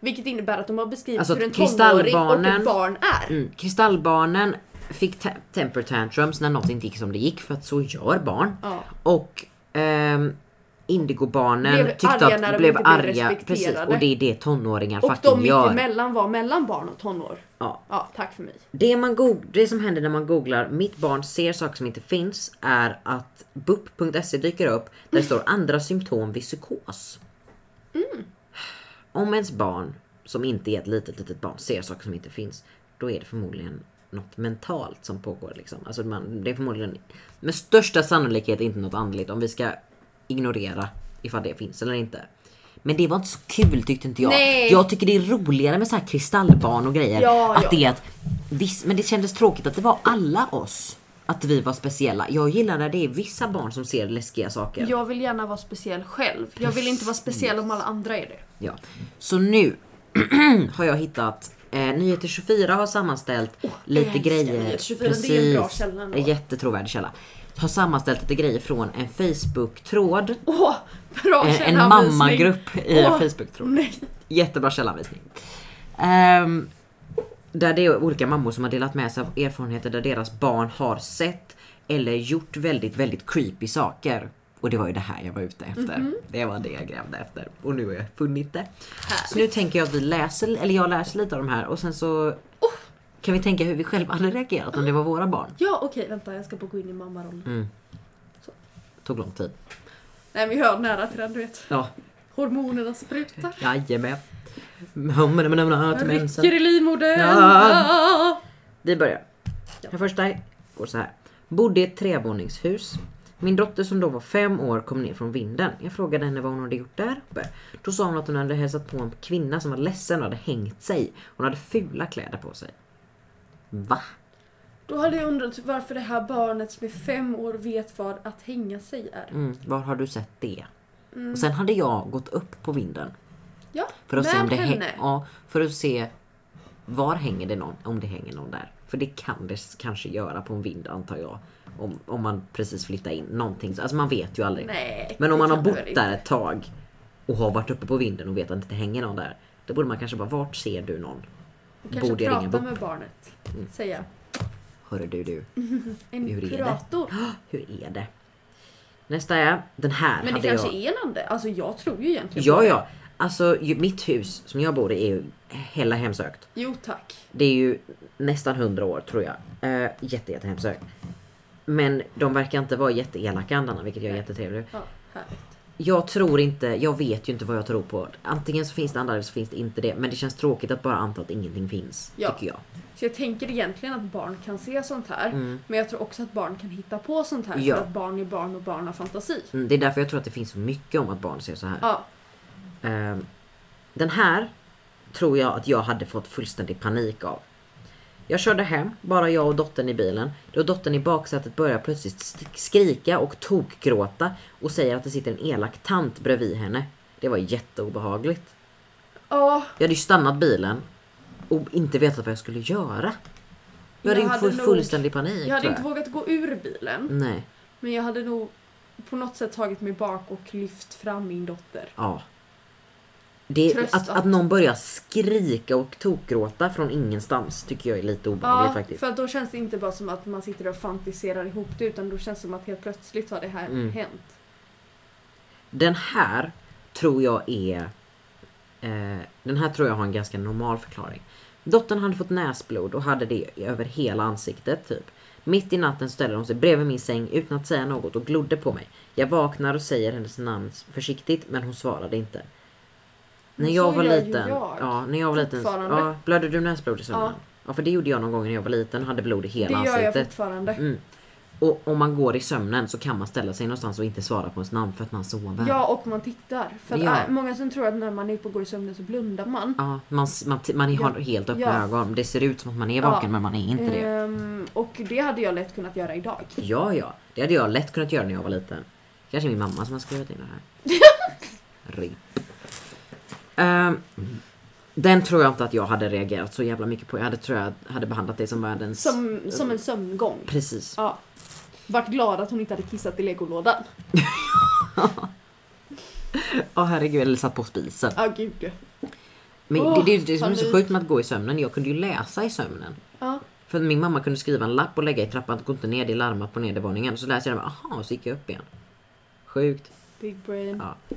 Speaker 2: Vilket innebär att de har beskrivit
Speaker 1: Alltså,
Speaker 2: hur en tonåring och
Speaker 1: kristallbarnen-
Speaker 2: ett barn är.
Speaker 1: Mm. Kristallbarnen fick te- temper tantrums när något inte gick som det gick för att så gör barn.
Speaker 2: Ja.
Speaker 1: Och ehm, indigobarnen
Speaker 2: Blev
Speaker 1: tyckte
Speaker 2: arga när
Speaker 1: att
Speaker 2: de
Speaker 1: blev
Speaker 2: inte blev
Speaker 1: arga. Precis,
Speaker 2: respekterade.
Speaker 1: och det är det tonåringar
Speaker 2: Och de
Speaker 1: fucking
Speaker 2: mitt
Speaker 1: gör.
Speaker 2: emellan var mellan barn och tonår.
Speaker 1: Ja.
Speaker 2: Ja, tack för mig.
Speaker 1: Det, man goog- det som händer när man googlar mitt barn ser saker som inte finns är att bup.se dyker upp där
Speaker 2: Mm.
Speaker 1: det står andra symptom vid psykos. Om ens barn som inte är ett litet litet barn ser saker som inte finns då är det förmodligen något mentalt som pågår. Liksom. Alltså man, det är förmodligen med största sannolikhet inte något andligt om vi ska ignorera ifall det finns eller inte. Men det var inte så kul tyckte inte jag.
Speaker 2: Nej.
Speaker 1: Jag tycker det är roligare med så här kristallbarn och grejer
Speaker 2: Ja,
Speaker 1: att
Speaker 2: ja.
Speaker 1: det är att, visst, men det kändes tråkigt att det var alla oss. Att vi var speciella. Jag gillar när det är vissa barn som ser läskiga saker. Ja.
Speaker 2: Jag vill gärna vara speciell själv. Jag vill inte vara speciell om alla andra är det.
Speaker 1: Så nu har jag hittat Eh, Nyheter 24 har sammanställt lite
Speaker 2: älskar
Speaker 1: grejer.
Speaker 2: Nyheter 24, det är en bra källa ändå.
Speaker 1: En jättetrovärdig källa. Har sammanställt lite grejer från en Facebook-tråd.
Speaker 2: Åh, bra
Speaker 1: Eh, en
Speaker 2: källanvisning.
Speaker 1: mammagrupp i
Speaker 2: Åh,
Speaker 1: en Facebook-tråd.
Speaker 2: Nej.
Speaker 1: Jättebra källanvisning. Ehm, där det är olika mammor som har delat med sig av erfarenheter där deras barn har sett eller gjort väldigt, väldigt creepy saker. Och det var ju det här jag var ute efter. Det var det jag grävde efter. Och nu har jag funnit det. Så nu tänker jag att vi läser, eller jag läser lite av de här och sen så kan vi tänka hur vi själva hade reagerat om det var våra barn.
Speaker 2: Ja okej vänta jag ska bara gå in i mammarollen.
Speaker 1: Mm. Tog lång tid.
Speaker 2: Nej men jag är nära till den du vet.
Speaker 1: Ja,
Speaker 2: Hormonerna sprutar.
Speaker 1: jajamän. Mm, mm, mm, mm, till mensen.
Speaker 2: Rycker i livmodern. Ah.
Speaker 1: Ja. Vi börjar. Den första går så här. Bodde i ett trevåningshus. Min dotter som då var fem år kom ner från vinden. Jag frågade henne vad hon hade gjort där uppe. Då sa hon att hon hade hälsat på en kvinna som var ledsen och hade hängt sig. Hon hade fula kläder på sig. Va?
Speaker 2: Då hade jag undrat varför det här barnet som är fem år vet vad att hänga sig är.
Speaker 1: Mm, var har du sett det? Och sen hade jag gått upp på vinden.
Speaker 2: Ja,
Speaker 1: För att, se om
Speaker 2: med
Speaker 1: det häng,
Speaker 2: henne.
Speaker 1: ja, för att se var hänger det någon, om det hänger någon där. För det kan det s- kanske göra på en vind antar jag. Om, om man precis flyttar in någonting. Alltså man vet ju aldrig.
Speaker 2: Nej,
Speaker 1: Men om
Speaker 2: det
Speaker 1: man har
Speaker 2: kan det
Speaker 1: bott
Speaker 2: väl
Speaker 1: där ett tag och har varit uppe på vinden och vet att det inte hänger någon där. Då borde man kanske bara, vart ser du någon?
Speaker 2: inte. Kanske
Speaker 1: borde jag ringa
Speaker 2: prata
Speaker 1: bort.
Speaker 2: med barnet. Säga.
Speaker 1: Hörru du du,
Speaker 2: Mm. En
Speaker 1: Hur är det?
Speaker 2: kurator.
Speaker 1: hur är det? Nästa är, den här
Speaker 2: Men det
Speaker 1: hade
Speaker 2: kanske
Speaker 1: jag.
Speaker 2: är en ande. Alltså jag tror ju egentligen på
Speaker 1: Ja
Speaker 2: det.
Speaker 1: ja, alltså ju, mitt hus som jag bor i är ju hela hemsökt.
Speaker 2: Jo tack.
Speaker 1: Det är ju nästan 100 år tror jag. Eh, jätte, jättehemsökt. Men de verkar inte vara jätteelaka andarna vilket jag är
Speaker 2: Nej.
Speaker 1: jättetrevligt.
Speaker 2: Ja, härligt.
Speaker 1: Jag tror inte, jag vet ju inte vad jag tror på. Antingen så finns det andra eller så finns det inte det. Men det känns tråkigt att bara anta att ingenting finns.
Speaker 2: Ja.
Speaker 1: Tycker jag.
Speaker 2: Så jag tänker egentligen att barn kan se sånt här. Men jag tror också att barn kan hitta på sånt här.
Speaker 1: Mm. Ja.
Speaker 2: För att barn är barn och barn har fantasi.
Speaker 1: Mm, det är därför jag tror att det finns så mycket om att barn ser så här.
Speaker 2: Ja.
Speaker 1: Ehm, den här tror jag att jag hade fått fullständig panik av. Jag körde hem, bara jag och dottern i bilen, då dottern i baksätet börjar plötsligt sk- skrika och tokgråta och säger att det sitter en elak tant bredvid henne. Det var jätteobehagligt.
Speaker 2: Ja,
Speaker 1: Jag hade ju stannat bilen och inte vetat vad jag skulle göra. Jag hade
Speaker 2: Jag
Speaker 1: inte
Speaker 2: hade
Speaker 1: fått
Speaker 2: nog-
Speaker 1: fullständig panik
Speaker 2: jag hade
Speaker 1: tror
Speaker 2: inte vågat gå ur bilen.
Speaker 1: Nej,
Speaker 2: Men jag hade nog på något sätt tagit mig bak och lyft fram min dotter.
Speaker 1: ja. Det,
Speaker 2: Trösta.
Speaker 1: att, att någon börjar skrika och tokgråta från ingenstans tycker jag är lite obehagligt
Speaker 2: Ja,
Speaker 1: faktiskt.
Speaker 2: för att då känns det inte bara som att man sitter och fantiserar ihop det utan då känns det som att helt plötsligt har det här
Speaker 1: Mm.
Speaker 2: hänt.
Speaker 1: Den här tror jag är... Eh, den här tror jag har en ganska normal förklaring. Dottern hade fått näsblod och hade det över hela ansiktet typ. Mitt i natten ställer hon sig bredvid min säng utan att säga något och glodde på mig. Jag vaknar och säger hennes namn försiktigt men hon svarade inte. När
Speaker 2: Men
Speaker 1: jag
Speaker 2: så
Speaker 1: var
Speaker 2: gör ju
Speaker 1: liten...
Speaker 2: jag.
Speaker 1: Ja, när jag var liten...
Speaker 2: Fortfarande.
Speaker 1: Ja, blödde du näsblod i sömnen?
Speaker 2: Ja.
Speaker 1: Ja. för det gjorde jag någon gång när jag var liten och hade blod i hela
Speaker 2: det gör jag
Speaker 1: ansiktet.
Speaker 2: fortfarande.
Speaker 1: Mm. Och om man går i sömnen så kan man ställa sig någonstans och inte svara på ens namn för att man sover.
Speaker 2: Ja, och man tittar. För att,
Speaker 1: Ja.
Speaker 2: äh, många som tror att när man är uppe och går i sömnen så blundar man.
Speaker 1: Ja, man, s- man, t- man har
Speaker 2: Ja.
Speaker 1: helt öppna
Speaker 2: Ja.
Speaker 1: ögon. Det ser ut som att man är vaken
Speaker 2: Ja.
Speaker 1: men man är inte det.
Speaker 2: Ehm, och det hade jag lätt kunnat göra idag.
Speaker 1: Ja, ja. Det hade jag lätt kunnat göra när jag var liten. Kanske min mamma som har skrivit in det här. RIP. Ehm, den tror jag inte att jag hade reagerat så jävla mycket på. Jag hade, tror jag hade behandlat det som världens...
Speaker 2: Som, som en sömngång.
Speaker 1: Precis.
Speaker 2: Ja. Vart glad att hon inte hade kissat i legolådan.
Speaker 1: Åh herregud, eller satt på spisen.
Speaker 2: Ja, gud.
Speaker 1: Men
Speaker 2: Åh,
Speaker 1: det, det är ju det som är så
Speaker 2: panik.
Speaker 1: sjukt med att gå i sömnen. Jag kunde ju läsa i sömnen.
Speaker 2: Ja.
Speaker 1: För min mamma kunde skriva en lapp och lägga i trappan, gå inte ner, det är larmat på nedervåningen. Så läste jag den, aha, så gick jag upp igen. Sjukt.
Speaker 2: Big brain.
Speaker 1: Ja.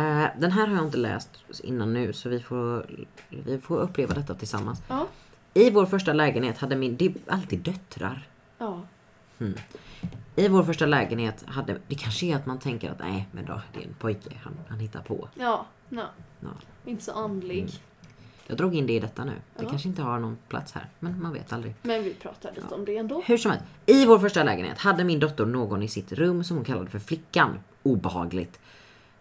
Speaker 1: Eh, den här har jag inte läst innan nu så vi får, vi får uppleva detta tillsammans.
Speaker 2: Ja.
Speaker 1: I vår första lägenhet hade min... Det är alltid döttrar.
Speaker 2: ja.
Speaker 1: I vår första lägenhet hade... Det kanske är att man tänker att nej men då, det är en pojke, han, han hittar på.
Speaker 2: Ja, nej.
Speaker 1: Ja. Mm.
Speaker 2: Inte så andlig.
Speaker 1: Jag drog in det i detta nu. Det
Speaker 2: Ja.
Speaker 1: kanske inte har någon plats här, men man vet aldrig.
Speaker 2: Men vi pratar lite om det ändå.
Speaker 1: Hur som helst, i vår första lägenhet hade min dotter någon i sitt rum som hon kallade för flickan. Obehagligt.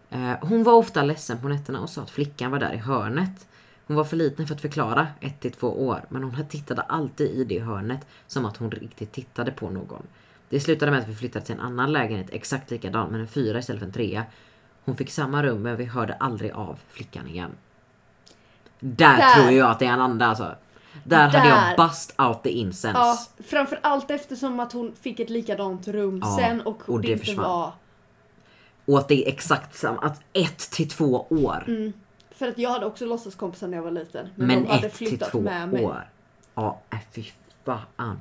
Speaker 1: Eh, Hon var ofta ledsen på nätterna och sa att flickan var där i hörnet. Hon var för liten för att förklara, ett till två år, men hon tittade alltid i det hörnet som att hon riktigt tittade på någon. Det slutade med att vi flyttade till en annan lägenhet, exakt likadan, men en fyra istället för en trea. Hon fick samma rum men vi hörde aldrig av flickan igen. Där,
Speaker 2: Där.
Speaker 1: tror jag att det är en anda alltså. Där, hade
Speaker 2: Där.
Speaker 1: jag bust out the incense.
Speaker 2: Ja, framförallt eftersom att hon fick ett likadant rum
Speaker 1: Ja,
Speaker 2: sen och,
Speaker 1: och
Speaker 2: det,
Speaker 1: det
Speaker 2: inte
Speaker 1: försvann.
Speaker 2: var...
Speaker 1: Och att det är exakt samma, att ett till två år.
Speaker 2: För att jag hade också låtsaskompisar när jag var liten. Mm, Men,
Speaker 1: men
Speaker 2: de hade
Speaker 1: ett till
Speaker 2: flyttat
Speaker 1: två
Speaker 2: med mig.
Speaker 1: år. Ja, äh, fy fan.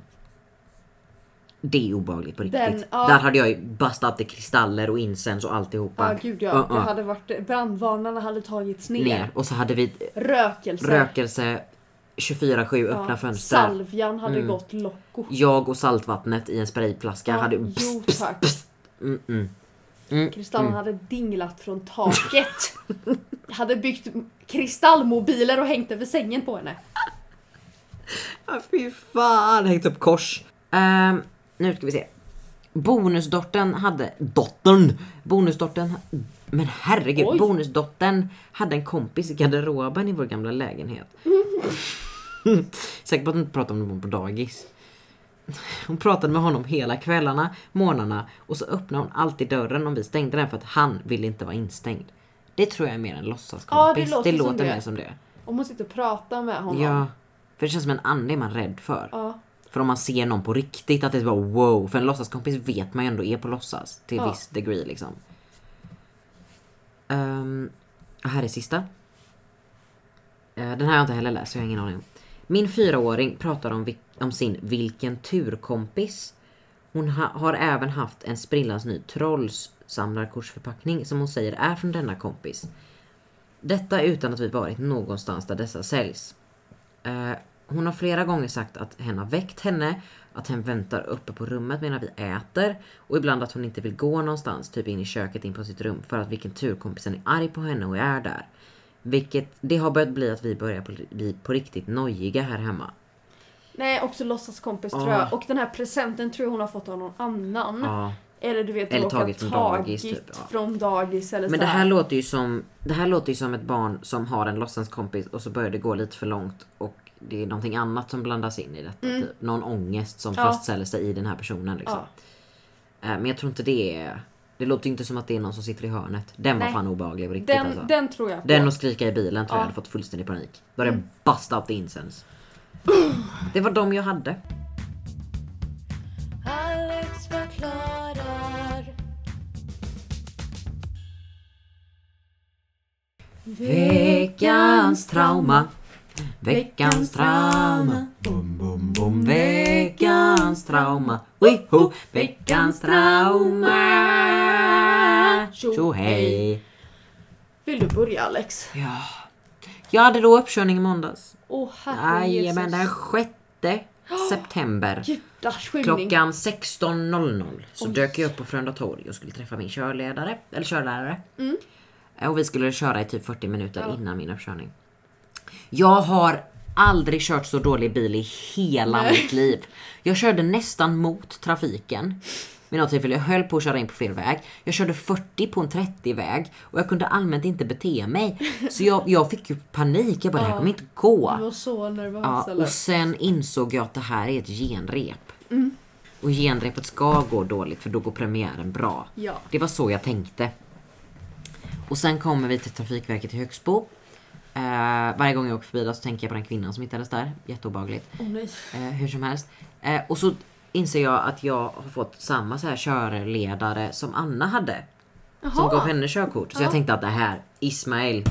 Speaker 1: Det är obehagligt på riktigt.
Speaker 2: Den- ja.
Speaker 1: Där hade jag ju bastat det kristaller och incens och alltihopa.
Speaker 2: Ja gud ja,
Speaker 1: Uh, uh.
Speaker 2: det hade varit, brandvarnarna hade tagits ner.
Speaker 1: Ner. Och så hade vi
Speaker 2: Rökelse.
Speaker 1: rökelse 24-7 öppna
Speaker 2: Ja,
Speaker 1: fönster.
Speaker 2: Salvjan hade
Speaker 1: mm.
Speaker 2: gått Locko.
Speaker 1: Jag och saltvattnet i en sprayflaska hade...
Speaker 2: jo tack.
Speaker 1: Mm, mm.
Speaker 2: Kristallen hade dinglat från taket. hade byggt kristallmobiler och hängt över sängen på henne.
Speaker 1: Ja, fy fan, hängt upp kors. Ehm, nu ska vi se. Bonusdottern hade... Dottern! Bonusdottern... Men herregud,
Speaker 2: Oj.
Speaker 1: bonusdottern hade en kompis i garderoben i vår gamla lägenhet. Säkert på att hon inte pratade om det på dagis. Hon pratade med honom hela kvällarna, morgnarna och så öppnade hon alltid dörren om vi stängde den för att han ville inte vara instängd. Det tror jag är mer en
Speaker 2: Ja, det
Speaker 1: låtsaskompis.
Speaker 2: låter som det.
Speaker 1: mer som det.
Speaker 2: Om hon sitter och pratar med honom.
Speaker 1: Ja. För det känns som en ande man är rädd för.
Speaker 2: Ja.
Speaker 1: För om man ser någon på riktigt att det är bara wow. För en låtsaskompis vet man ju ändå är på låtsas. Till
Speaker 2: Ja.
Speaker 1: viss degree liksom. Ehm, här är sista. Eh, den här har jag inte heller läst så jag har ingen aning om. Min fyraåring pratar om, vi- om sin vilken turkompis. Hon ha, har även haft en sprillans ny trollsamlarkortsförpackning som hon säger är från denna kompis. Detta utan att vi varit någonstans där dessa säljs. Eh, hon har flera gånger sagt att hen har väckt henne, att hen väntar uppe på rummet medan vi äter och ibland att hon inte vill gå någonstans, typ in i köket in på sitt rum för att vilken turkompisen är arg på henne och är där. Vilket, det har börjat bli att vi börjar på- bli på riktigt nojiga här hemma.
Speaker 2: Nej, också låtsaskompis
Speaker 1: Ja.
Speaker 2: tror jag. Och den här presenten tror jag hon har fått av någon annan.
Speaker 1: Ja.
Speaker 2: Eller du vet,
Speaker 1: Ah. Eller
Speaker 2: råkat
Speaker 1: tagit från dagis, typ, ja.
Speaker 2: från dagis eller
Speaker 1: Men
Speaker 2: så
Speaker 1: det här låter ju som, det här låter ju som ett barn som har en låtsaskompis och så börjar det gå lite för långt och det är någonting annat som blandas in i detta. Typ. Någon ångest som
Speaker 2: Mm. Ja.
Speaker 1: fastställer sig i den här personen. Liksom.
Speaker 2: Ja.
Speaker 1: Eh, Men jag tror inte det är... Det låter ju inte som att det är någon som sitter i hörnet. Den
Speaker 2: Nej.
Speaker 1: var fan obehaglig på riktigt
Speaker 2: Den,
Speaker 1: alltså. Den,
Speaker 2: den tror jag på.
Speaker 1: och skrika i bilen tror jag
Speaker 2: Ja. Mm.
Speaker 1: hade fått fullständig panik. Då hade jag bust out the incense. Det var de jag hade.
Speaker 3: Alex förklarar.
Speaker 1: Veckans trauma. Veckans trauma.
Speaker 4: Bum, bum, bum.
Speaker 1: Veckans trauma. Wiho! Veckans trauma. Tjo hej.
Speaker 2: Vill du börja Alex?
Speaker 1: Ja. Jag hade då uppkörning i måndags.
Speaker 2: Åh oh, herre
Speaker 1: Jajamän, den
Speaker 2: Jesus.
Speaker 1: 6 september.
Speaker 2: Judars skymning.
Speaker 1: Klockan 16.00 så
Speaker 2: Oj.
Speaker 1: dök jag upp på Frölunda torg och skulle träffa min körledare, eller körlärare.
Speaker 2: Mm.
Speaker 1: Och vi skulle köra i typ 40 minuter
Speaker 2: Ja.
Speaker 1: innan min uppkörning. Jag har aldrig kört så dålig bil i hela
Speaker 2: Nej.
Speaker 1: mitt liv. Jag körde nästan mot trafiken. Vid något tillfälle, jag höll på att köra in på fel väg. Jag körde 40 på en 30-väg och jag kunde allmänt inte bete mig. Så jag, jag fick ju panik. Jag bara, det här
Speaker 2: Ja.
Speaker 1: kommer inte gå.
Speaker 2: Du var så nervös
Speaker 1: Ja,
Speaker 2: eller?
Speaker 1: och sen insåg jag att det här är ett genrep.
Speaker 2: Mm.
Speaker 1: Och genrepet ska gå dåligt för då går premiären bra.
Speaker 2: Ja.
Speaker 1: Det var så jag tänkte. Och sen kommer vi till Trafikverket i Högsbo. Eh, varje gång jag åker förbi där så tänker jag på den kvinnan som hittades där. Jätteobehagligt.
Speaker 2: Åh nej.
Speaker 1: Eh, hur som helst. Eh, och så inser jag att jag har fått samma så här körledare som Anna hade. Som gav henne körkort. Så jag
Speaker 2: Ja.
Speaker 1: tänkte att det här, Ismail,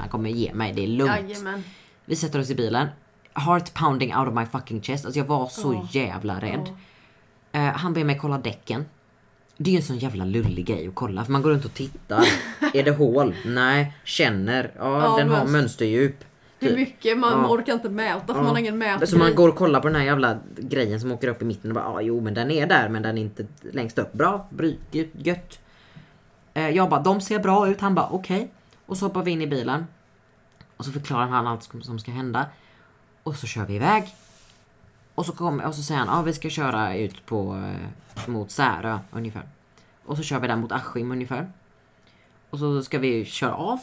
Speaker 1: han kommer ge mig, det är lugnt.
Speaker 2: Jajamän.
Speaker 1: Vi sätter oss i bilen. Heart pounding out of my fucking chest. Alltså jag var så
Speaker 2: Ja.
Speaker 1: jävla rädd.
Speaker 2: Ja.
Speaker 1: Eh, han ber mig kolla däcken. Det är ju en sån jävla lullig grej att kolla för man går runt och tittar. är det hål? Nej. Känner? Ja,
Speaker 2: Ja,
Speaker 1: den har
Speaker 2: mönster.
Speaker 1: mönsterdjup.
Speaker 2: Det är
Speaker 1: Typ.
Speaker 2: mycket, man
Speaker 1: Ja.
Speaker 2: orkar inte mäta för man har ingen mätare.
Speaker 1: Så man går och kollar på den här jävla grejen som åker upp i mitten och bara ah, jo men den är där men den är inte längst upp. Bra, bry, gö- gött. Eh, Jag bara de ser bra ut. Han bara okej. Och så hoppar vi in i bilen. Och så förklarar han allt som- som ska hända. Och så kör vi iväg. Och så, kom, och så säger han ah, vi ska köra ut på, eh, mot Särö ungefär. Och så kör vi där mot Askim ungefär. Och så ska vi köra av.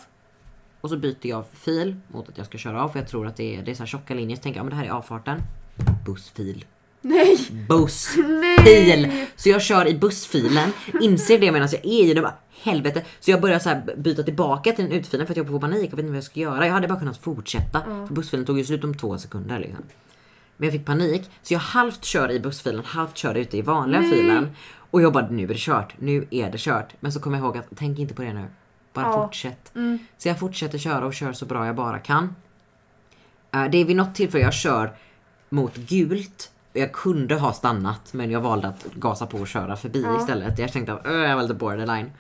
Speaker 1: Och så byter jag fil mot att jag ska köra av för jag tror att det är, det är så här tjocka linjer. Så tänker jag, ja, men det här är avfarten. Bussfil.
Speaker 2: Nej!
Speaker 1: Bussfil!
Speaker 2: Nej!
Speaker 1: Så jag kör i bussfilen, inser det medan jag är i det bara helvete. Så jag börjar så här byta tillbaka till den utfilen för att jag får panik och vet inte vad jag ska göra. Jag hade bara kunnat fortsätta för bussfilen tog ju slut om två sekunder liksom. Men jag fick panik så jag halvt kör i bussfilen, halvt kör ute i vanliga filen. Och jag bara nu är det kört, nu är det kört. Men så kommer jag ihåg att tänk inte på det nu. Bara
Speaker 2: Ja.
Speaker 1: fortsätt. Så jag fortsätter köra och kör så bra jag bara kan. Eh, det är vid något tillfälle jag kör mot gult. Jag kunde ha stannat men jag valde att gasa på och köra förbi istället. Jag tänkte att "Öh, jag var lite borderline.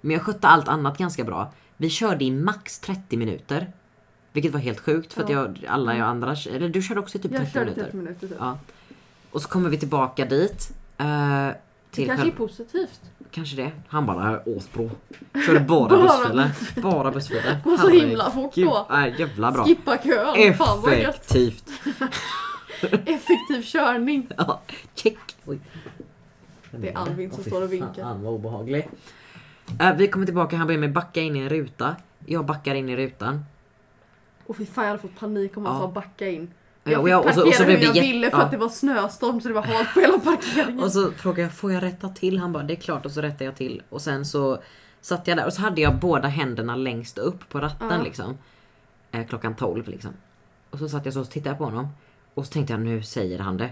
Speaker 1: Men jag skötte allt annat ganska bra. Vi körde i max 30 minuter. Vilket var helt sjukt för att jag, alla jag andra, eller du körde också i typ 30
Speaker 2: Jag körde
Speaker 1: minuter.
Speaker 2: 30 minuter typ.
Speaker 1: Ja. Och så kommer vi tillbaka dit. eh,
Speaker 2: Det
Speaker 1: till
Speaker 2: kanske
Speaker 1: själv-
Speaker 2: är positivt.
Speaker 1: kanske det. Han bara, "Nej, Åsbro. Körde bara bussfiler. Bara bussfiler.
Speaker 2: Går så
Speaker 1: Herregud.
Speaker 2: himla fort då.
Speaker 1: Nej, jävla bra.
Speaker 2: Skippa kön. Fan vad gött.
Speaker 1: Effektivt.
Speaker 2: Effektiv körning.
Speaker 1: Ja, check. Oj.
Speaker 2: Det är Alvin som står och vinkar.
Speaker 1: Eh,
Speaker 2: Och fy fan jag hade fått panik om han
Speaker 1: Ja.
Speaker 2: sa backa in.
Speaker 1: Ja,
Speaker 2: Jag
Speaker 1: och
Speaker 2: fick
Speaker 1: jag- och så-
Speaker 2: parkera
Speaker 1: och så blev
Speaker 2: hur jag
Speaker 1: det jätte-
Speaker 2: ville för
Speaker 1: ja.
Speaker 2: att det var snöstorm så det var halt på hela parkeringen.
Speaker 1: Och så frågade jag, får jag rätta till? Han bara, det är klart. Och så rättade jag till. Och sen så satt jag där och så hade jag båda händerna längst upp på ratten
Speaker 2: Ja.
Speaker 1: liksom. Eh, klockan 12 liksom. Och så satt jag så och tittade på honom. Och så tänkte jag, nu säger han det.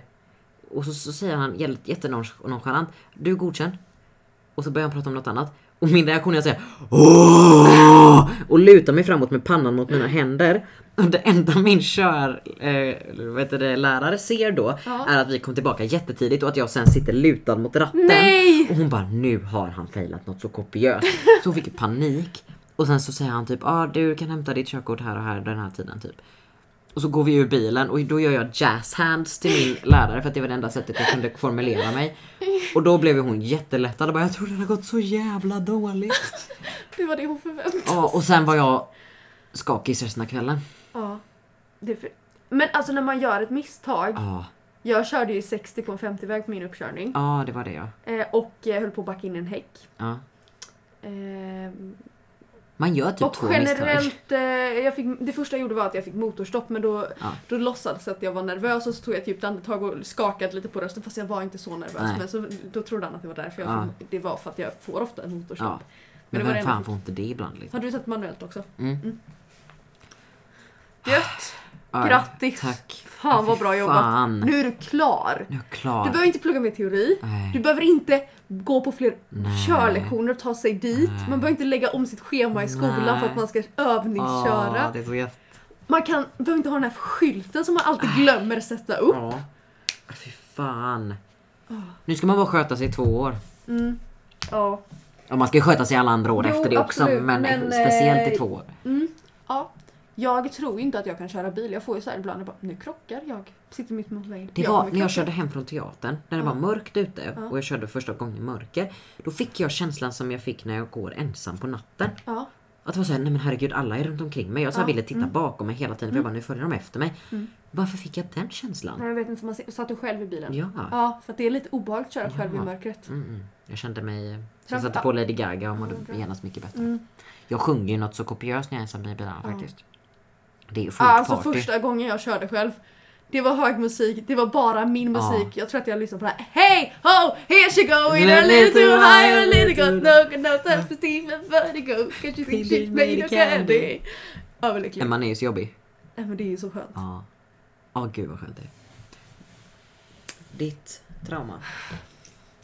Speaker 1: Och så, så säger han jätte- jättenonchalant, du är godkänd. Och så börjar han prata om något annat. Och min reaktion är att säga Åh! Och lutar mig framåt med pannan mot mina händer. Och det enda min kör, eh, vad heter det, lärare ser då
Speaker 2: Ja.
Speaker 1: är att vi kom tillbaka jättetidigt och att jag sen sitter lutad mot ratten.
Speaker 2: Nej!
Speaker 1: Och hon bara nu har han failat något så kopiöst. Så hon fick panik. Och sen så säger han typ ah, du kan hämta ditt körkort här och här den här tiden typ. Och så går vi ur bilen och då gör jag jazz hands till min lärare för att det var det enda sättet jag kunde formulera mig. Och då blev hon jättelättad och bara jag trodde det hade gått så jävla dåligt.
Speaker 2: Det var det hon förväntade sig.
Speaker 1: Ja, och sen var jag skakig resten av kvällen.
Speaker 2: Ja. Det är för... Men alltså när man gör ett misstag.
Speaker 1: Ja,
Speaker 2: Jag körde ju 60 på en 50-väg på min uppkörning.
Speaker 1: ja det var det ja.
Speaker 2: Eh, och eh, höll på att backa in i en häck.
Speaker 1: ja.
Speaker 2: Ehm,
Speaker 1: Man gör typ
Speaker 2: och
Speaker 1: två misstag.
Speaker 2: generellt, eh, jag fick, det första jag gjorde var att jag fick motorstopp men då,
Speaker 1: Ja.
Speaker 2: då låtsades jag att jag var nervös och så tog jag ett djupt andetag och skakade lite på rösten fast jag var inte så nervös.
Speaker 1: Nej.
Speaker 2: Men så, då trodde han att det var därför jag
Speaker 1: Ja.
Speaker 2: det var för att jag får ofta en motorstopp.
Speaker 1: Ja.
Speaker 2: Men
Speaker 1: Men
Speaker 2: det var
Speaker 1: vem
Speaker 2: det enda
Speaker 1: fan
Speaker 2: fick-
Speaker 1: får inte det ibland liksom?
Speaker 2: Har du sett manuellt också?
Speaker 1: Mm.
Speaker 2: Gött!
Speaker 1: Ja,
Speaker 2: Grattis!
Speaker 1: Tack.
Speaker 2: Fan vad bra jobbat.
Speaker 1: Fan.
Speaker 2: Nu är du klar.
Speaker 1: Nu är jag klar.
Speaker 2: Du behöver inte plugga mer teori.
Speaker 1: Nej.
Speaker 2: Du behöver inte gå på fler
Speaker 1: Nej.
Speaker 2: körlektioner och ta sig dit.
Speaker 1: Nej.
Speaker 2: Man behöver inte lägga om sitt schema i skolan
Speaker 1: Nej.
Speaker 2: för att man ska
Speaker 1: Åh,
Speaker 2: övningsköra.
Speaker 1: det är så gött.
Speaker 2: Man kan, behöver inte ha den här skylten som man
Speaker 1: Ah.
Speaker 2: alltid glömmer sätta upp.
Speaker 1: Ja. Ah, Fy fan. Nu ska man bara sköta sig i två år.
Speaker 2: Mm. Ja.
Speaker 1: Ja, man ska ju sköta sig alla andra år
Speaker 2: Jo,
Speaker 1: efter det också
Speaker 2: absolut,
Speaker 1: men,
Speaker 2: men,
Speaker 1: speciellt i
Speaker 2: eh,
Speaker 1: två år.
Speaker 2: Mm. ja. Jag tror ju inte att jag kan köra bil. Jag får ju så här ibland och bara, nu krockar jag. Sitter mitt mot vägen.
Speaker 1: Det
Speaker 2: Jag
Speaker 1: var
Speaker 2: kommer
Speaker 1: när jag
Speaker 2: krocka.
Speaker 1: körde hem från teatern, när det
Speaker 2: Ja.
Speaker 1: var mörkt ute
Speaker 2: Ja.
Speaker 1: och jag körde första gången i mörker. Då fick jag känslan som jag fick när jag går ensam på natten.
Speaker 2: Ja.
Speaker 1: Att det var såhär, nej men herregud alla är runt omkring mig. Jag så här
Speaker 2: Ja.
Speaker 1: ville titta
Speaker 2: Mm.
Speaker 1: bakom mig hela tiden för jag bara, nu följer de efter mig. Varför fick jag den känslan?
Speaker 2: Men jag vet inte, för man s- satt du själv i bilen?
Speaker 1: Ja.
Speaker 2: Ja, för att det är lite obehagligt att köra själv i
Speaker 1: Ja.
Speaker 2: mörkret.
Speaker 1: Mm, mm. Jag kände mig... Jag
Speaker 2: Framför-
Speaker 1: satte på Lady Gaga och mådde
Speaker 2: Ja, bra.
Speaker 1: genast mycket bättre.
Speaker 2: Mm.
Speaker 1: Jag sjunger ju något så kopiöst när jag är ensam i bilarna faktiskt. Det är ju fullt
Speaker 2: Ah, alltså
Speaker 1: party.
Speaker 2: första gången jag körde själv. Det var hög musik, det var bara min
Speaker 1: Ja.
Speaker 2: musik. Jag tror att jag lyssnade på det här. Hey ho, here she go, in a little too high, a little go, no, no, no, for Steve, for the go, can't you think she's made of candy? Ja, väldigt
Speaker 1: Men
Speaker 2: lycklig.
Speaker 1: man är ju så jobbig.
Speaker 2: Nej men det är ju så skönt.
Speaker 1: Ja. Ja, gud vad skönt det är. Ditt trauma.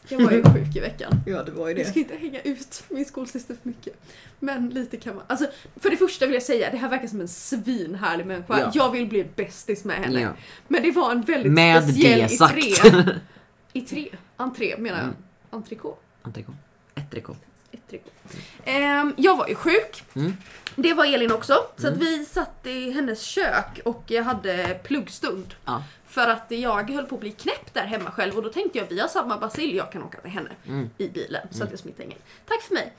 Speaker 2: Jag var ju sjuk i veckan.
Speaker 1: Ja, det var ju
Speaker 2: Jag ska inte hänga ut min skolsyster för mycket. Men lite kan man. Alltså, för det första vill jag säga, det här verkar som en svinhärlig människa.
Speaker 1: Ja.
Speaker 2: Jag vill bli bästis med henne.
Speaker 1: Ja.
Speaker 2: Men det var en väldigt
Speaker 1: Med
Speaker 2: speciell
Speaker 1: det sagt.
Speaker 2: entré. Entré? Entré menar jag.
Speaker 1: Mm.
Speaker 2: Entrecôte?
Speaker 1: Entrecôte. Ettricot.
Speaker 2: Entrecôte. Ehm, jag var ju sjuk.
Speaker 1: Mm.
Speaker 2: Det var Elin också. Så att vi satt i hennes kök och jag hade pluggstund.
Speaker 1: Ja.
Speaker 2: För att jag höll på att bli knäpp där hemma själv och då tänkte jag vi har samma bacill, jag kan åka till henne
Speaker 1: Mm.
Speaker 2: i bilen så att jag smittar ingen. Tack för mig.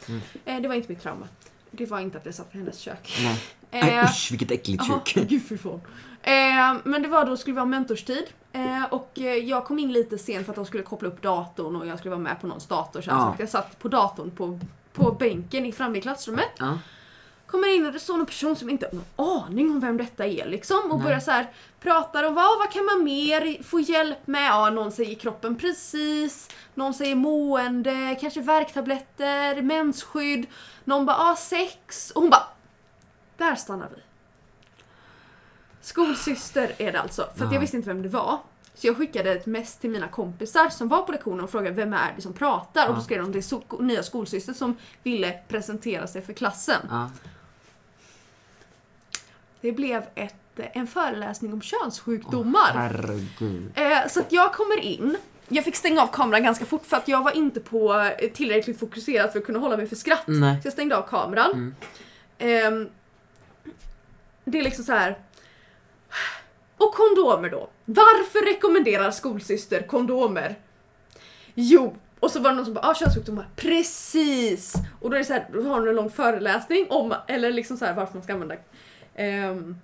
Speaker 2: Eh, det var inte mitt trauma. Det var inte att jag satt i hennes kök.
Speaker 1: Nej.
Speaker 2: Eh,
Speaker 1: Nej usch vilket äckligt
Speaker 2: Jaha,
Speaker 1: kuk.
Speaker 2: gud fy fan. Eh, men det var då skulle vara mentorstid eh, och eh, jag kom in lite sent för att de skulle koppla upp datorn och jag skulle vara med på någons dator sen,
Speaker 1: Ja.
Speaker 2: så att jag satt på datorn på, på bänken i framme i klassrummet.
Speaker 1: Ja.
Speaker 2: Kommer in och det står en person som inte har någon aning om vem detta är liksom och börjar så här prata om vad, vad kan man mer få hjälp med? Ja, någon säger kroppen precis, någon säger mående, kanske värktabletter, mensskydd, någon bara ah, sex och hon bara där stannar vi. Skolsyster är det alltså, för att
Speaker 1: Ja.
Speaker 2: jag visste inte vem det var. Så jag skickade ett mess till mina kompisar som var på lektionen och frågade vem är det som pratar? Och då
Speaker 1: Ja.
Speaker 2: skrev de det är so- nya skolsyster som ville presentera sig för klassen.
Speaker 1: Ja.
Speaker 2: Det blev ett, eh, en föreläsning om könssjukdomar.
Speaker 1: Herregud.
Speaker 2: eh, så att jag kommer in, jag fick stänga av kameran ganska fort för att jag var inte på eh, tillräckligt fokuserad för att kunna hålla mig för skratt.
Speaker 1: Nej. Mm.
Speaker 2: Så jag stängde av kameran. Ehm, det är liksom så här. Och kondomer då. Varför rekommenderar skolsyster kondomer? Jo, och så var det någon som bara ah, könssjukdomar. Precis! Och då är det så här, då har hon en lång föreläsning om, eller liksom så här varför man ska använda ehm,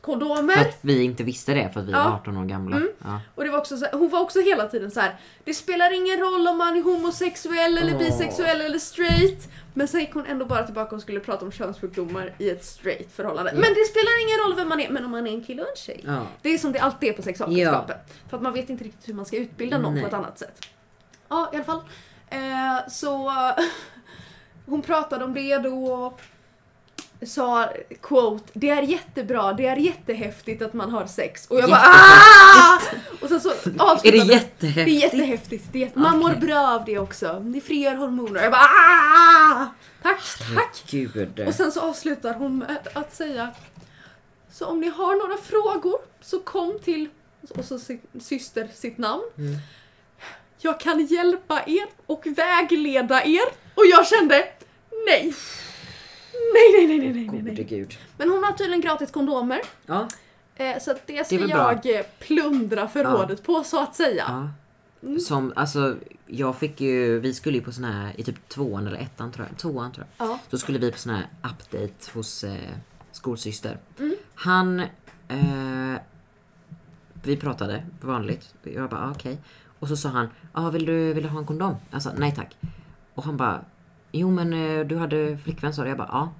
Speaker 2: kondomer.
Speaker 1: För att vi inte visste det för att vi
Speaker 2: Äh. Ja. Mm.
Speaker 1: var 18 år gamla. Ja.
Speaker 2: Och det var också så hon var också hela tiden så här. Det spelar ingen roll om man är homosexuell eller
Speaker 1: Åh.
Speaker 2: bisexuell eller straight. Men sen gick hon ändå bara tillbaka och skulle prata om könssjukdomar i ett straight förhållande.
Speaker 1: Ja.
Speaker 2: Men det spelar ingen roll vem man är, men om man är en kille och en tjej.
Speaker 1: Ja.
Speaker 2: Det är som det alltid är på sexualkunskapen. För att man vet inte riktigt hur man ska utbilda någon
Speaker 1: Nej.
Speaker 2: på ett annat sätt. Ja, i alla fall. Eh, så hon pratade om det då och sa quote, det är jättebra, det är jättehäftigt att man har sex. Och jag bara ah! Och sen så
Speaker 1: Är det
Speaker 2: avslutade det är
Speaker 1: jättehäftigt? Ah,
Speaker 2: jättehäftigt. Det är jätte... Man mår
Speaker 1: Okej.
Speaker 2: bra av det också. Det frigör hormoner. Jag bara ah! Tack, tack!
Speaker 1: Gud.
Speaker 2: Och sen så avslutar hon med att säga Så om ni har några frågor så kom till och så si- syster sitt namn.
Speaker 1: Mm.
Speaker 2: Jag kan hjälpa er och vägleda er. Och jag kände nej. Nej, nej, nej, nej, nej, nej,
Speaker 1: Gode
Speaker 2: nej.
Speaker 1: gud.
Speaker 2: Men hon har tydligen gratis kondomer.
Speaker 1: Ja.
Speaker 2: eh, Så att det ska
Speaker 1: är väl bra.
Speaker 2: jag eh, plundra förrådet på så att säga.
Speaker 1: ja. Som, alltså, jag fick ju, vi skulle ju på sån här, i typ tvåan eller ettan tror jag, tvåan tror jag.
Speaker 2: Ja.
Speaker 1: Då skulle vi på sån här update hos eh, skolsyster. Han... Eh, vi pratade vanligt. Jag bara ah, okej. Och så sa han, ah, vill, du, vill du ha en kondom? Alltså nej tack. Och han bara, jo men eh, du hade flickvän sa du? Jag bara ja.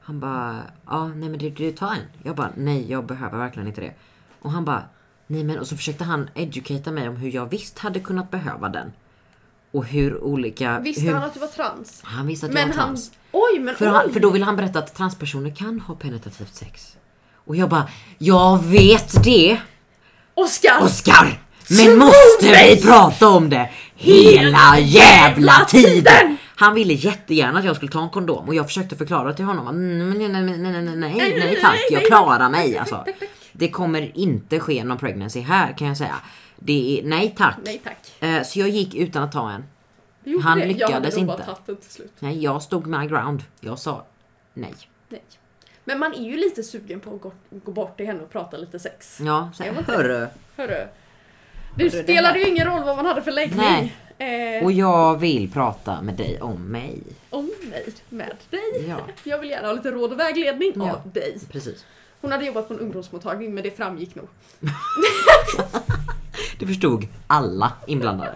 Speaker 1: Han bara, ja nej men du, du tar en. Jag bara nej jag behöver verkligen inte det. Och han bara, nej men och så försökte han educata mig om hur jag visst hade kunnat behöva den. Och hur olika...
Speaker 2: Visste
Speaker 1: hur,
Speaker 2: han att du var trans?
Speaker 1: han visste att jag
Speaker 2: Men
Speaker 1: var
Speaker 2: han...
Speaker 1: trans.
Speaker 2: Oj men
Speaker 1: För,
Speaker 2: oj!
Speaker 1: han, för då vill han berätta att transpersoner kan ha penetrativt sex. Och Och jag bara, jag vet det
Speaker 2: Oskar!
Speaker 1: Oskar! Men
Speaker 2: Svor
Speaker 1: måste vi
Speaker 2: mig!
Speaker 1: prata om det hela jävla tiden? Han ville jättegärna att jag skulle ta en kondom och jag försökte förklara till honom att "Mm, nej, nej, nej, nej, nej, nej, nej tack, jag klarar mig alltså. Det kommer inte ske någon pregnancy här kan jag säga. Det är, nej tack.
Speaker 2: Nej tack.
Speaker 1: Eh, Så jag gick utan att ta en.
Speaker 2: Du gjorde
Speaker 1: Han
Speaker 2: det. Jag hade
Speaker 1: lyckades
Speaker 2: nog bara
Speaker 1: inte.
Speaker 2: tagit den till slut.
Speaker 1: Nej, jag stod my ground. Jag sa nej.
Speaker 2: Nej. Men man är ju lite sugen på att gå, gå bort till henne och prata lite sex.
Speaker 1: Ja, så
Speaker 2: Jag
Speaker 1: här,
Speaker 2: var inte-
Speaker 1: hörru.
Speaker 2: Hörru. Det
Speaker 1: Mm. det
Speaker 2: spelade
Speaker 1: här-
Speaker 2: ju ingen roll vad man hade för läggning.
Speaker 1: Nej.
Speaker 2: Eh,
Speaker 1: Och jag vill prata med dig om mig.
Speaker 2: om mig, med dig.
Speaker 1: Ja.
Speaker 2: Jag vill gärna ha lite råd och vägledning
Speaker 1: Ja.
Speaker 2: av dig.
Speaker 1: Precis.
Speaker 2: Hon hade jobbat på en ungdomsmottagning men det framgick nog.
Speaker 1: Det förstod alla inblandade.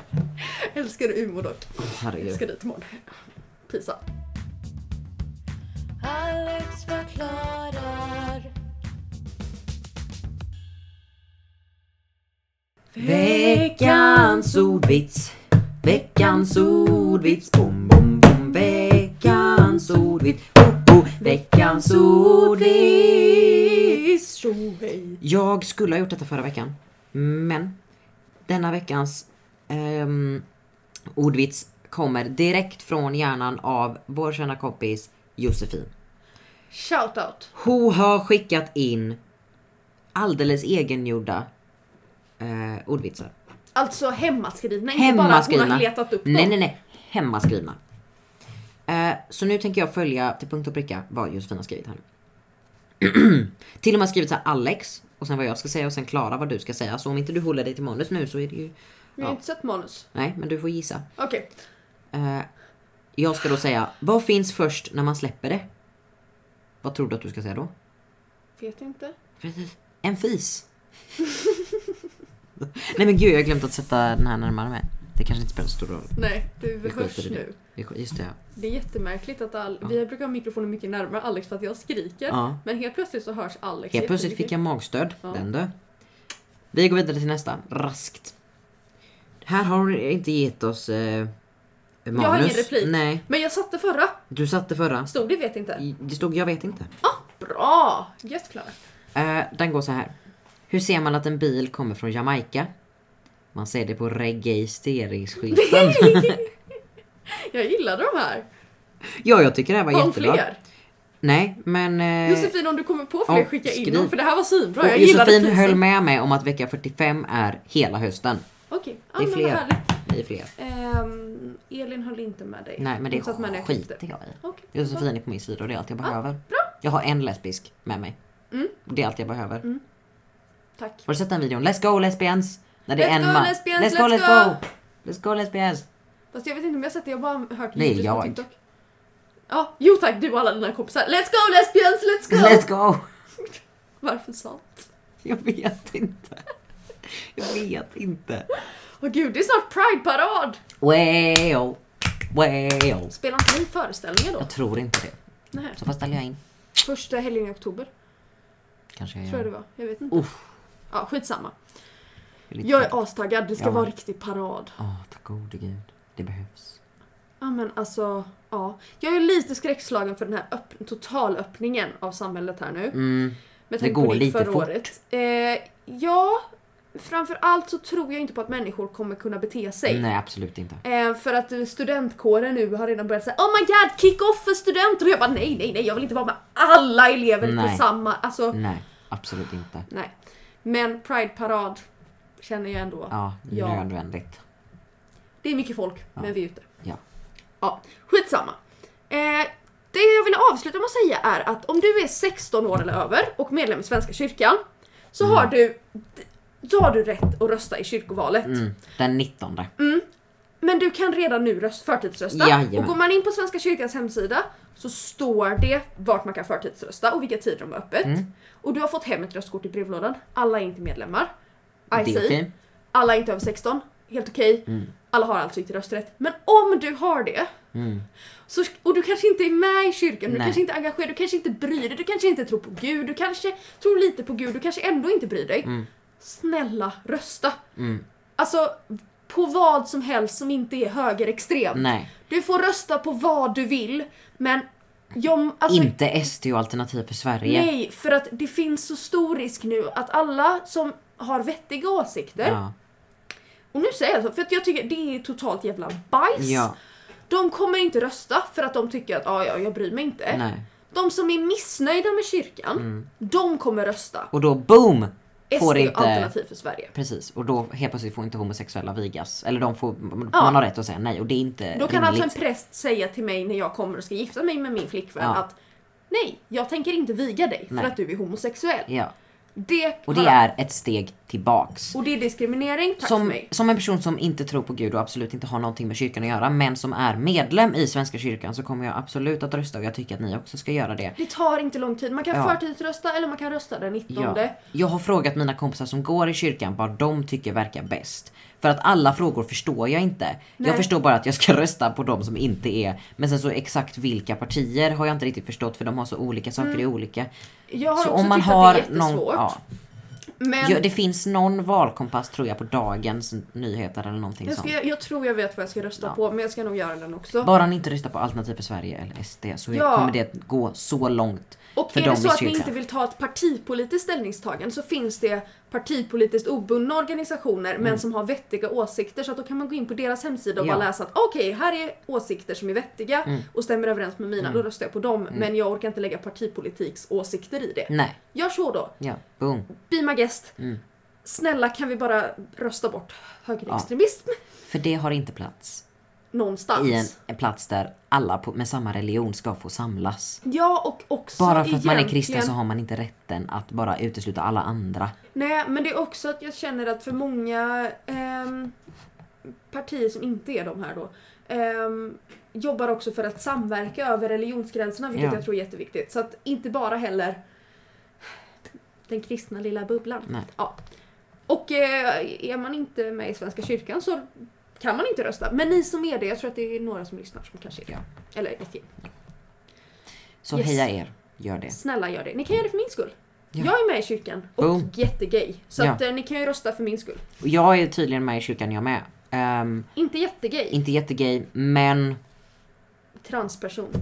Speaker 2: Älskar Umeå dock.
Speaker 1: Herregud.
Speaker 2: Ska dit imorgon. Pisa.
Speaker 3: Alex förklarar.
Speaker 1: Veckans ordvits Veckans ordvits Bom, bom, bom Veckans ordvits oh, oh. Veckans ordvits
Speaker 2: Tjohej.
Speaker 1: Jag skulle ha gjort detta förra veckan Men Denna veckans ehm, Ordvits kommer direkt från hjärnan av vår kära kompis Josefin
Speaker 2: Shoutout.
Speaker 1: Hon har skickat in Alldeles egengjorda eh, Ordvitsar
Speaker 2: Alltså hemmaskrivna, inte bara att hon
Speaker 1: Hemmaskrivna.
Speaker 2: har letat upp
Speaker 1: nej,
Speaker 2: dem.
Speaker 1: nej, nej. Hemmaskrivna. Eh, så nu tänker jag följa till punkt och pricka vad Josefin har skrivit här. till och med skrivit så här Alex och sen vad jag ska säga och sen Klara vad du ska säga. Så om inte du håller dig till manus nu så är det ju...
Speaker 2: Jag har
Speaker 1: Ja.
Speaker 2: inte sett manus.
Speaker 1: Nej, men du får gissa.
Speaker 2: Okej.
Speaker 1: Eh, jag ska då säga, vad finns först när man släpper det? Vad tror du att du ska säga då?
Speaker 2: Vet inte.
Speaker 1: Precis. En fis. nej men gud, jag har glömt att sätta den här närmare mig. Det kanske inte spelar så stor roll.
Speaker 2: Nej, du
Speaker 1: Vi skiter
Speaker 2: hörs
Speaker 1: i det.
Speaker 2: nu.
Speaker 1: Vi sk- Just det, ja.
Speaker 2: Det är jättemärkligt att all... vi brukar ha mikrofonen mycket närmare Alex för att jag skriker.
Speaker 1: Ja.
Speaker 2: Men helt plötsligt så hörs Alex
Speaker 1: Helt plötsligt fick
Speaker 2: jättemycket.
Speaker 1: jag magstöd.
Speaker 2: Ja.
Speaker 1: Den du. Vi går vidare till nästa. Raskt. Här har hon inte gett oss eh, manus.
Speaker 2: Jag har ingen replik.
Speaker 1: Nej,
Speaker 2: Men jag satte förra.
Speaker 1: du satte förra.
Speaker 2: Stod det vet inte.
Speaker 1: I- Det stod jag vet inte.
Speaker 2: Bra! Gött Klara.
Speaker 1: Eh, den går så här. Hur ser man att en bil kommer från Jamaica? Man ser det på registreringsskylten.
Speaker 2: Jag gillar de här.
Speaker 1: ja, jag tycker det här var
Speaker 2: Har hon
Speaker 1: jättebra.
Speaker 2: fler?
Speaker 1: Nej, men... Eh,
Speaker 2: Josefin om du kommer på fler
Speaker 1: ja,
Speaker 2: skicka in
Speaker 1: skriv.
Speaker 2: dem för det här var svinbra.
Speaker 1: och
Speaker 2: Jag gillade
Speaker 1: Josefin
Speaker 2: priset.
Speaker 1: höll med mig om att vecka 45 är hela hösten.
Speaker 2: Okej, ja,
Speaker 1: Det är
Speaker 2: men vad
Speaker 1: fler.
Speaker 2: härligt.
Speaker 1: Vi är fler.
Speaker 2: Ehm, Elin höll inte med dig.
Speaker 1: Nej, men det
Speaker 2: Hon satt med när jag
Speaker 1: skiter
Speaker 2: klippte.
Speaker 1: jag i.
Speaker 2: Okej.
Speaker 1: Josefin är på min sida och det är allt jag behöver. Jag har en lesbisk med mig.
Speaker 2: Ah, Mm.
Speaker 1: Det är allt jag behöver.
Speaker 2: Tack.
Speaker 1: Har du sett den videon? Let's go lesbians! När det
Speaker 2: Let's
Speaker 1: är en
Speaker 2: go,
Speaker 1: man.
Speaker 2: lesbians,
Speaker 1: let's go
Speaker 2: let's
Speaker 1: let's go! Let's go lesbians!
Speaker 2: Fast jag vet inte om jag har sett det, jag har bara hört
Speaker 1: Nej,
Speaker 2: ljudet på
Speaker 1: jag.
Speaker 2: TikTok. Ja, jo tack du och alla dina kompisar. Let's go lesbians, let's go!
Speaker 1: Let's go!
Speaker 2: Varför sant?
Speaker 1: Jag vet inte. Jag vet inte.
Speaker 2: Åh gud, det är snart Pride-parad!
Speaker 1: Well, well.
Speaker 2: Spelar inte ni föreställningar då?
Speaker 1: Jag tror inte det.
Speaker 2: Nej.
Speaker 1: Så vad ställer jag in?
Speaker 2: Första helgen i oktober,
Speaker 1: Kanske jag
Speaker 2: tror jag det
Speaker 1: gör.
Speaker 2: var. Jag vet inte.
Speaker 1: Uff,
Speaker 2: Ja, skitsamma.
Speaker 1: jag är lite-
Speaker 2: Jag är astaggad, det ska
Speaker 1: Ja.
Speaker 2: vara riktig parad.
Speaker 1: Åh, tack gode gud. Det behövs.
Speaker 2: Ja men alltså, ja. Jag är lite skräckslagen för den här öpp- totalöppningen av samhället här nu.
Speaker 1: Mm.
Speaker 2: Med
Speaker 1: Det
Speaker 2: tanke
Speaker 1: går
Speaker 2: på ditt
Speaker 1: lite
Speaker 2: förra
Speaker 1: fort.
Speaker 2: året. Eh, ja, framför allt så tror jag inte på att människor kommer kunna bete sig.
Speaker 1: Nej, absolut inte.
Speaker 2: Eh, för att eh, studentkåren nu har redan börjat säga Oh my god, kick off för studenter! Och jag bara nej, nej, nej, jag vill inte vara med alla elever på
Speaker 1: Nej. Mm.
Speaker 2: samma... Alltså,
Speaker 1: Nej, absolut inte.
Speaker 2: nej. Men Pride-parad känner jag ändå.
Speaker 1: Ja,
Speaker 2: Ja.
Speaker 1: nödvändigt.
Speaker 2: Det är mycket folk, men vi är ute.
Speaker 1: Ja.
Speaker 2: Ja, skitsamma. Eh, det jag vill avsluta med att säga är att om du är 16 år eller över och medlem i Svenska kyrkan så
Speaker 1: Mm.
Speaker 2: har du då har du rätt att rösta i kyrkovalet.
Speaker 1: Mm. Den 19.
Speaker 2: Men du kan redan nu röst, förtidsrösta.
Speaker 1: Jajamän.
Speaker 2: Och går man in på Svenska kyrkans hemsida så står det vart man kan förtidsrösta och vilka tider de har öppet.
Speaker 1: Mm.
Speaker 2: Och du har fått hem ett röstkort i brevlådan. Alla är inte medlemmar.
Speaker 1: Det är
Speaker 2: I see.
Speaker 1: okej.
Speaker 2: Alla är inte över 16, helt okej.
Speaker 1: Mm.
Speaker 2: Alla har alltså inte rösträtt. Men om du har det, så, och du kanske inte är med i kyrkan, du
Speaker 1: Mm. Nej.
Speaker 2: kanske inte är engagerad, du kanske inte bryr dig, du kanske inte tror på Gud, du kanske tror lite på Gud, du kanske ändå inte bryr dig.
Speaker 1: Mm.
Speaker 2: Snälla, rösta! Alltså, på vad som helst som inte är högerextremt.
Speaker 1: Nej.
Speaker 2: Du får rösta på vad du vill, men Jag, alltså,
Speaker 1: Inte SD och Alternativ för Sverige.
Speaker 2: nej, för att det finns så stor risk nu att alla som har vettiga åsikter,
Speaker 1: Ja.
Speaker 2: och nu säger jag så, för att jag tycker det är totalt jävla bajs.
Speaker 1: ja.
Speaker 2: De kommer inte rösta för att de tycker att ah, ja, jag bryr mig inte.
Speaker 1: Nej.
Speaker 2: De som är missnöjda med kyrkan, de kommer rösta.
Speaker 1: Och då boom! Får
Speaker 2: SD
Speaker 1: inte...
Speaker 2: alternativ för Sverige.
Speaker 1: Precis, och då helt plötsligt får inte homosexuella vigas. Eller de får,
Speaker 2: Ja.
Speaker 1: man har rätt att säga nej och det är inte
Speaker 2: Då kan
Speaker 1: rimligt.
Speaker 2: alltså en präst säga till mig när jag kommer och ska gifta mig med min flickvän
Speaker 1: Ja.
Speaker 2: att nej, jag tänker inte viga dig för
Speaker 1: Nej.
Speaker 2: att du är homosexuell.
Speaker 1: Ja.
Speaker 2: Det,
Speaker 1: Och det är ett steg tillbaks.
Speaker 2: och det är diskriminering, tack för
Speaker 1: Som,
Speaker 2: mig.
Speaker 1: som en person som inte tror på Gud och absolut inte har någonting med kyrkan att göra men som är medlem i Svenska kyrkan så kommer jag absolut att rösta och jag tycker att ni också ska göra det.
Speaker 2: Det tar inte lång tid. Man kan
Speaker 1: Ja.
Speaker 2: förtidsrösta eller man kan rösta den 19.
Speaker 1: Ja. Jag har frågat mina kompisar som går i kyrkan vad de tycker verkar bäst. För att alla frågor förstår jag inte.
Speaker 2: Nej.
Speaker 1: Jag förstår bara att jag ska rösta på de som inte är. Men sen så exakt vilka partier har jag inte riktigt förstått för de har så olika saker i olika.
Speaker 2: Mm. Jag har
Speaker 1: så
Speaker 2: också
Speaker 1: om man
Speaker 2: tyckt
Speaker 1: har
Speaker 2: att det är jättesvårt.
Speaker 1: någon, ja.
Speaker 2: Men
Speaker 1: ja, det finns någon valkompass tror jag på dagens nyheter eller någonting
Speaker 2: jag, ska,
Speaker 1: sånt.
Speaker 2: jag, tror jag vet vad jag ska rösta
Speaker 1: Ja.
Speaker 2: på men jag ska nog göra den också.
Speaker 1: Bara ni inte röstar på Alternativ för Sverige eller SD så
Speaker 2: Ja.
Speaker 1: kommer det gå så långt.
Speaker 2: Och
Speaker 1: för
Speaker 2: är det
Speaker 1: dem
Speaker 2: så
Speaker 1: i
Speaker 2: att ni
Speaker 1: kyrkan.
Speaker 2: inte vill ta ett partipolitiskt ställningstagande så finns det partipolitiskt obundna organisationer men som har vettiga åsikter så att då kan man gå in på deras hemsida och
Speaker 1: Mm. Ja. Mm.
Speaker 2: bara läsa att okej, här är åsikter som är vettiga och stämmer överens med mina, då röstar jag på dem men jag orkar inte lägga partipolitiks åsikter i det.
Speaker 1: Nej,
Speaker 2: Gör så då,
Speaker 1: ja, boom.
Speaker 2: be my guest.
Speaker 1: Mm.
Speaker 2: Snälla kan vi bara rösta bort högerextremism
Speaker 1: För det har inte plats
Speaker 2: någonstans?
Speaker 1: i en, en plats där alla på, med samma religion ska få samlas.
Speaker 2: Ja och också
Speaker 1: Bara för att man är kristen
Speaker 2: egentligen-
Speaker 1: så har man inte rätten att bara utesluta alla andra.
Speaker 2: Nej, men det är också att jag känner att för många ehm, partier som inte är de här då ehm, jobbar också för att samverka över religionsgränserna, vilket
Speaker 1: Ja.
Speaker 2: jag tror är jätteviktigt. Så att inte bara heller den kristna lilla bubblan.
Speaker 1: Nej.
Speaker 2: Ja. Och eh, är man inte med i Svenska kyrkan så kan man inte rösta. Men ni som är det, jag tror att det är några som lyssnar som kanske är det.
Speaker 1: Ja.
Speaker 2: Eller ett gäng.
Speaker 1: Så
Speaker 2: Yes.
Speaker 1: heja er, gör det.
Speaker 2: Snälla gör det. Ni kan göra det för min skull.
Speaker 1: Ja.
Speaker 2: Jag är med i kyrkan och
Speaker 1: Boom.
Speaker 2: jättegay. Så
Speaker 1: Ja.
Speaker 2: att, eh, ni kan ju rösta för min skull.
Speaker 1: Och Jag är tydligen med i kyrkan jag med. Ehm,
Speaker 2: Inte jättegay.
Speaker 1: inte jättegay, men
Speaker 2: transperson.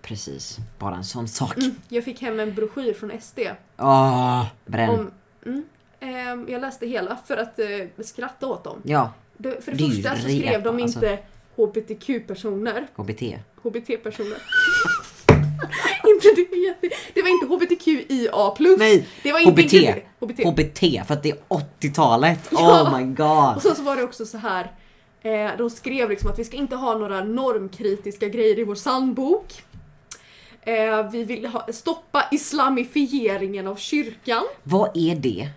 Speaker 1: precis, bara en sån sak.
Speaker 2: Jag fick hem en broschyr från SD.
Speaker 1: Åh, bränn.
Speaker 2: Om, mm, ehm, jag läste hela för att eh, skratta åt dem.
Speaker 1: Ja,
Speaker 2: Det- För det
Speaker 1: Det är ju
Speaker 2: första så
Speaker 1: rep,
Speaker 2: skrev de
Speaker 1: alltså.
Speaker 2: inte HBTQ-personer,
Speaker 1: KBT.
Speaker 2: HBT-personer. inte det, är jätte- det var inte HBTQIA+.
Speaker 1: Nej,
Speaker 2: det var
Speaker 1: HBT.
Speaker 2: HBT.
Speaker 1: HBT, för att det är 80-talet.
Speaker 2: Ja.
Speaker 1: Oh my
Speaker 2: Och
Speaker 1: god.
Speaker 2: sen så var det också så här. Eh, de skrev liksom att vi ska inte ha några normkritiska grejer i vår sandbok. Eh, vi vill ha, stoppa islamifieringen av kyrkan.
Speaker 1: Vad är det?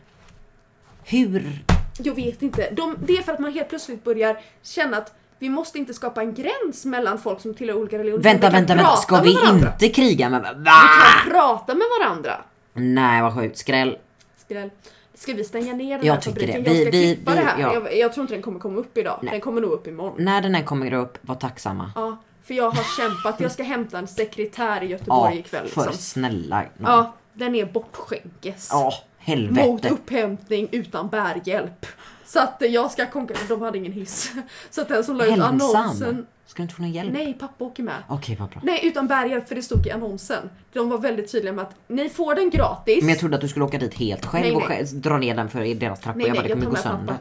Speaker 1: Hur?
Speaker 2: Jag vet inte. De, det är för att man helt plötsligt börjar känna att vi måste inte skapa en gräns mellan folk som tillhör olika religioner.
Speaker 1: Vänta,
Speaker 2: Vi kan
Speaker 1: vänta, vänta.
Speaker 2: prata
Speaker 1: Ska
Speaker 2: med
Speaker 1: vi
Speaker 2: varandra.
Speaker 1: inte kriga med varandra?
Speaker 2: Vi kan prata med varandra.
Speaker 1: Nej, vad sjukt. Skräll.
Speaker 2: Skräll. Ska vi stänga ner den
Speaker 1: Jag
Speaker 2: här
Speaker 1: tycker
Speaker 2: fabriken?
Speaker 1: det. Vi-
Speaker 2: jag ska
Speaker 1: vi-
Speaker 2: klippa
Speaker 1: vi-
Speaker 2: det här.
Speaker 1: ja.
Speaker 2: Jag, jag tror inte den kommer komma upp idag. Den kommer nog upp imorgon.
Speaker 1: När den här kommer upp, var tacksamma.
Speaker 2: Ja, för jag har kämpat. Jag ska hämta en sekretär i Göteborg ikväll.
Speaker 1: för
Speaker 2: Liksom.
Speaker 1: snälla. Ja,
Speaker 2: Ja, den är bortskänkes. Mot
Speaker 1: helvete.
Speaker 2: upphämtning utan bärhjälp. Så att eh, jag ska konkurrera. De hade ingen hiss. Så att den som la ut
Speaker 1: Hälsam.
Speaker 2: annonsen.
Speaker 1: Ska du inte få någon hjälp?
Speaker 2: Nej, pappa åker med.
Speaker 1: Okej, vad bra.
Speaker 2: Nej, utan bärhjälp för det stod i annonsen. De var väldigt tydliga med att ni får den gratis.
Speaker 1: Men jag trodde att du skulle åka dit helt själv
Speaker 2: Nej,
Speaker 1: och
Speaker 2: nej.
Speaker 1: själv, dra ner den för i deras trappa.
Speaker 2: nej,
Speaker 1: jag bara,
Speaker 2: nej,
Speaker 1: det
Speaker 2: jag
Speaker 1: kommer
Speaker 2: tar
Speaker 1: gå
Speaker 2: med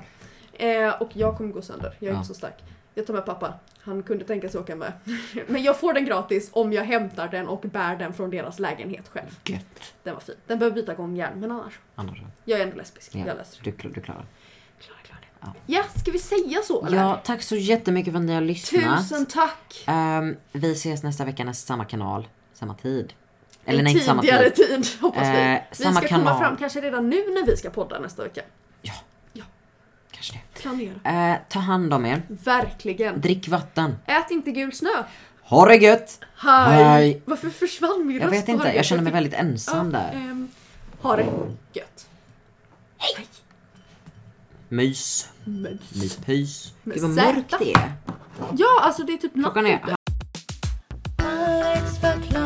Speaker 1: sönder.
Speaker 2: pappa. Eh, och jag kommer gå sönder. Jag är
Speaker 1: Ja.
Speaker 2: inte så stark. Jag tar med pappa. Han kunde tänka sig åka med. Men jag får den gratis om jag hämtar den och bär den från deras lägenhet själv.
Speaker 1: Gött.
Speaker 2: Den var fin. Den behöver byta gångjärn, men annars.
Speaker 1: Andra.
Speaker 2: Jag är ändå lesbisk.
Speaker 1: Ja,
Speaker 2: Jag löser det.
Speaker 1: du, kl- du klarar.
Speaker 2: Klara, klara det. Ja.
Speaker 1: Ja.
Speaker 2: ska vi säga så eller?
Speaker 1: Ja, tack så jättemycket för att ni har lyssnat.
Speaker 2: Tusen tack!
Speaker 1: Ehm, vi ses nästa vecka, nästa samma kanal, samma tid. Eller
Speaker 2: en
Speaker 1: nej, inte samma
Speaker 2: tidigare
Speaker 1: tid.
Speaker 2: tid, hoppas vi.
Speaker 1: Eh,
Speaker 2: vi
Speaker 1: samma
Speaker 2: ska komma
Speaker 1: kanal.
Speaker 2: fram kanske redan nu när vi ska podda nästa vecka.
Speaker 1: Kanske det.
Speaker 2: Planera.
Speaker 1: Eh, ta hand om er.
Speaker 2: Verkligen.
Speaker 1: Drick vatten.
Speaker 2: Ät inte gul snö.
Speaker 1: Ha det gött!
Speaker 2: Hej!
Speaker 1: Hej.
Speaker 2: Varför försvann min
Speaker 1: Jag
Speaker 2: röst?
Speaker 1: vet inte, jag känner mig väldigt ensam där.
Speaker 2: Um, ha det gött. Hej!
Speaker 1: Mys,
Speaker 2: Men-
Speaker 1: myspys.
Speaker 2: Med
Speaker 1: Gud vad
Speaker 2: Z.
Speaker 1: mörkt det är.
Speaker 2: Ja, alltså det är typ natt
Speaker 1: Klockan är
Speaker 2: ute.
Speaker 3: Alex förklarar.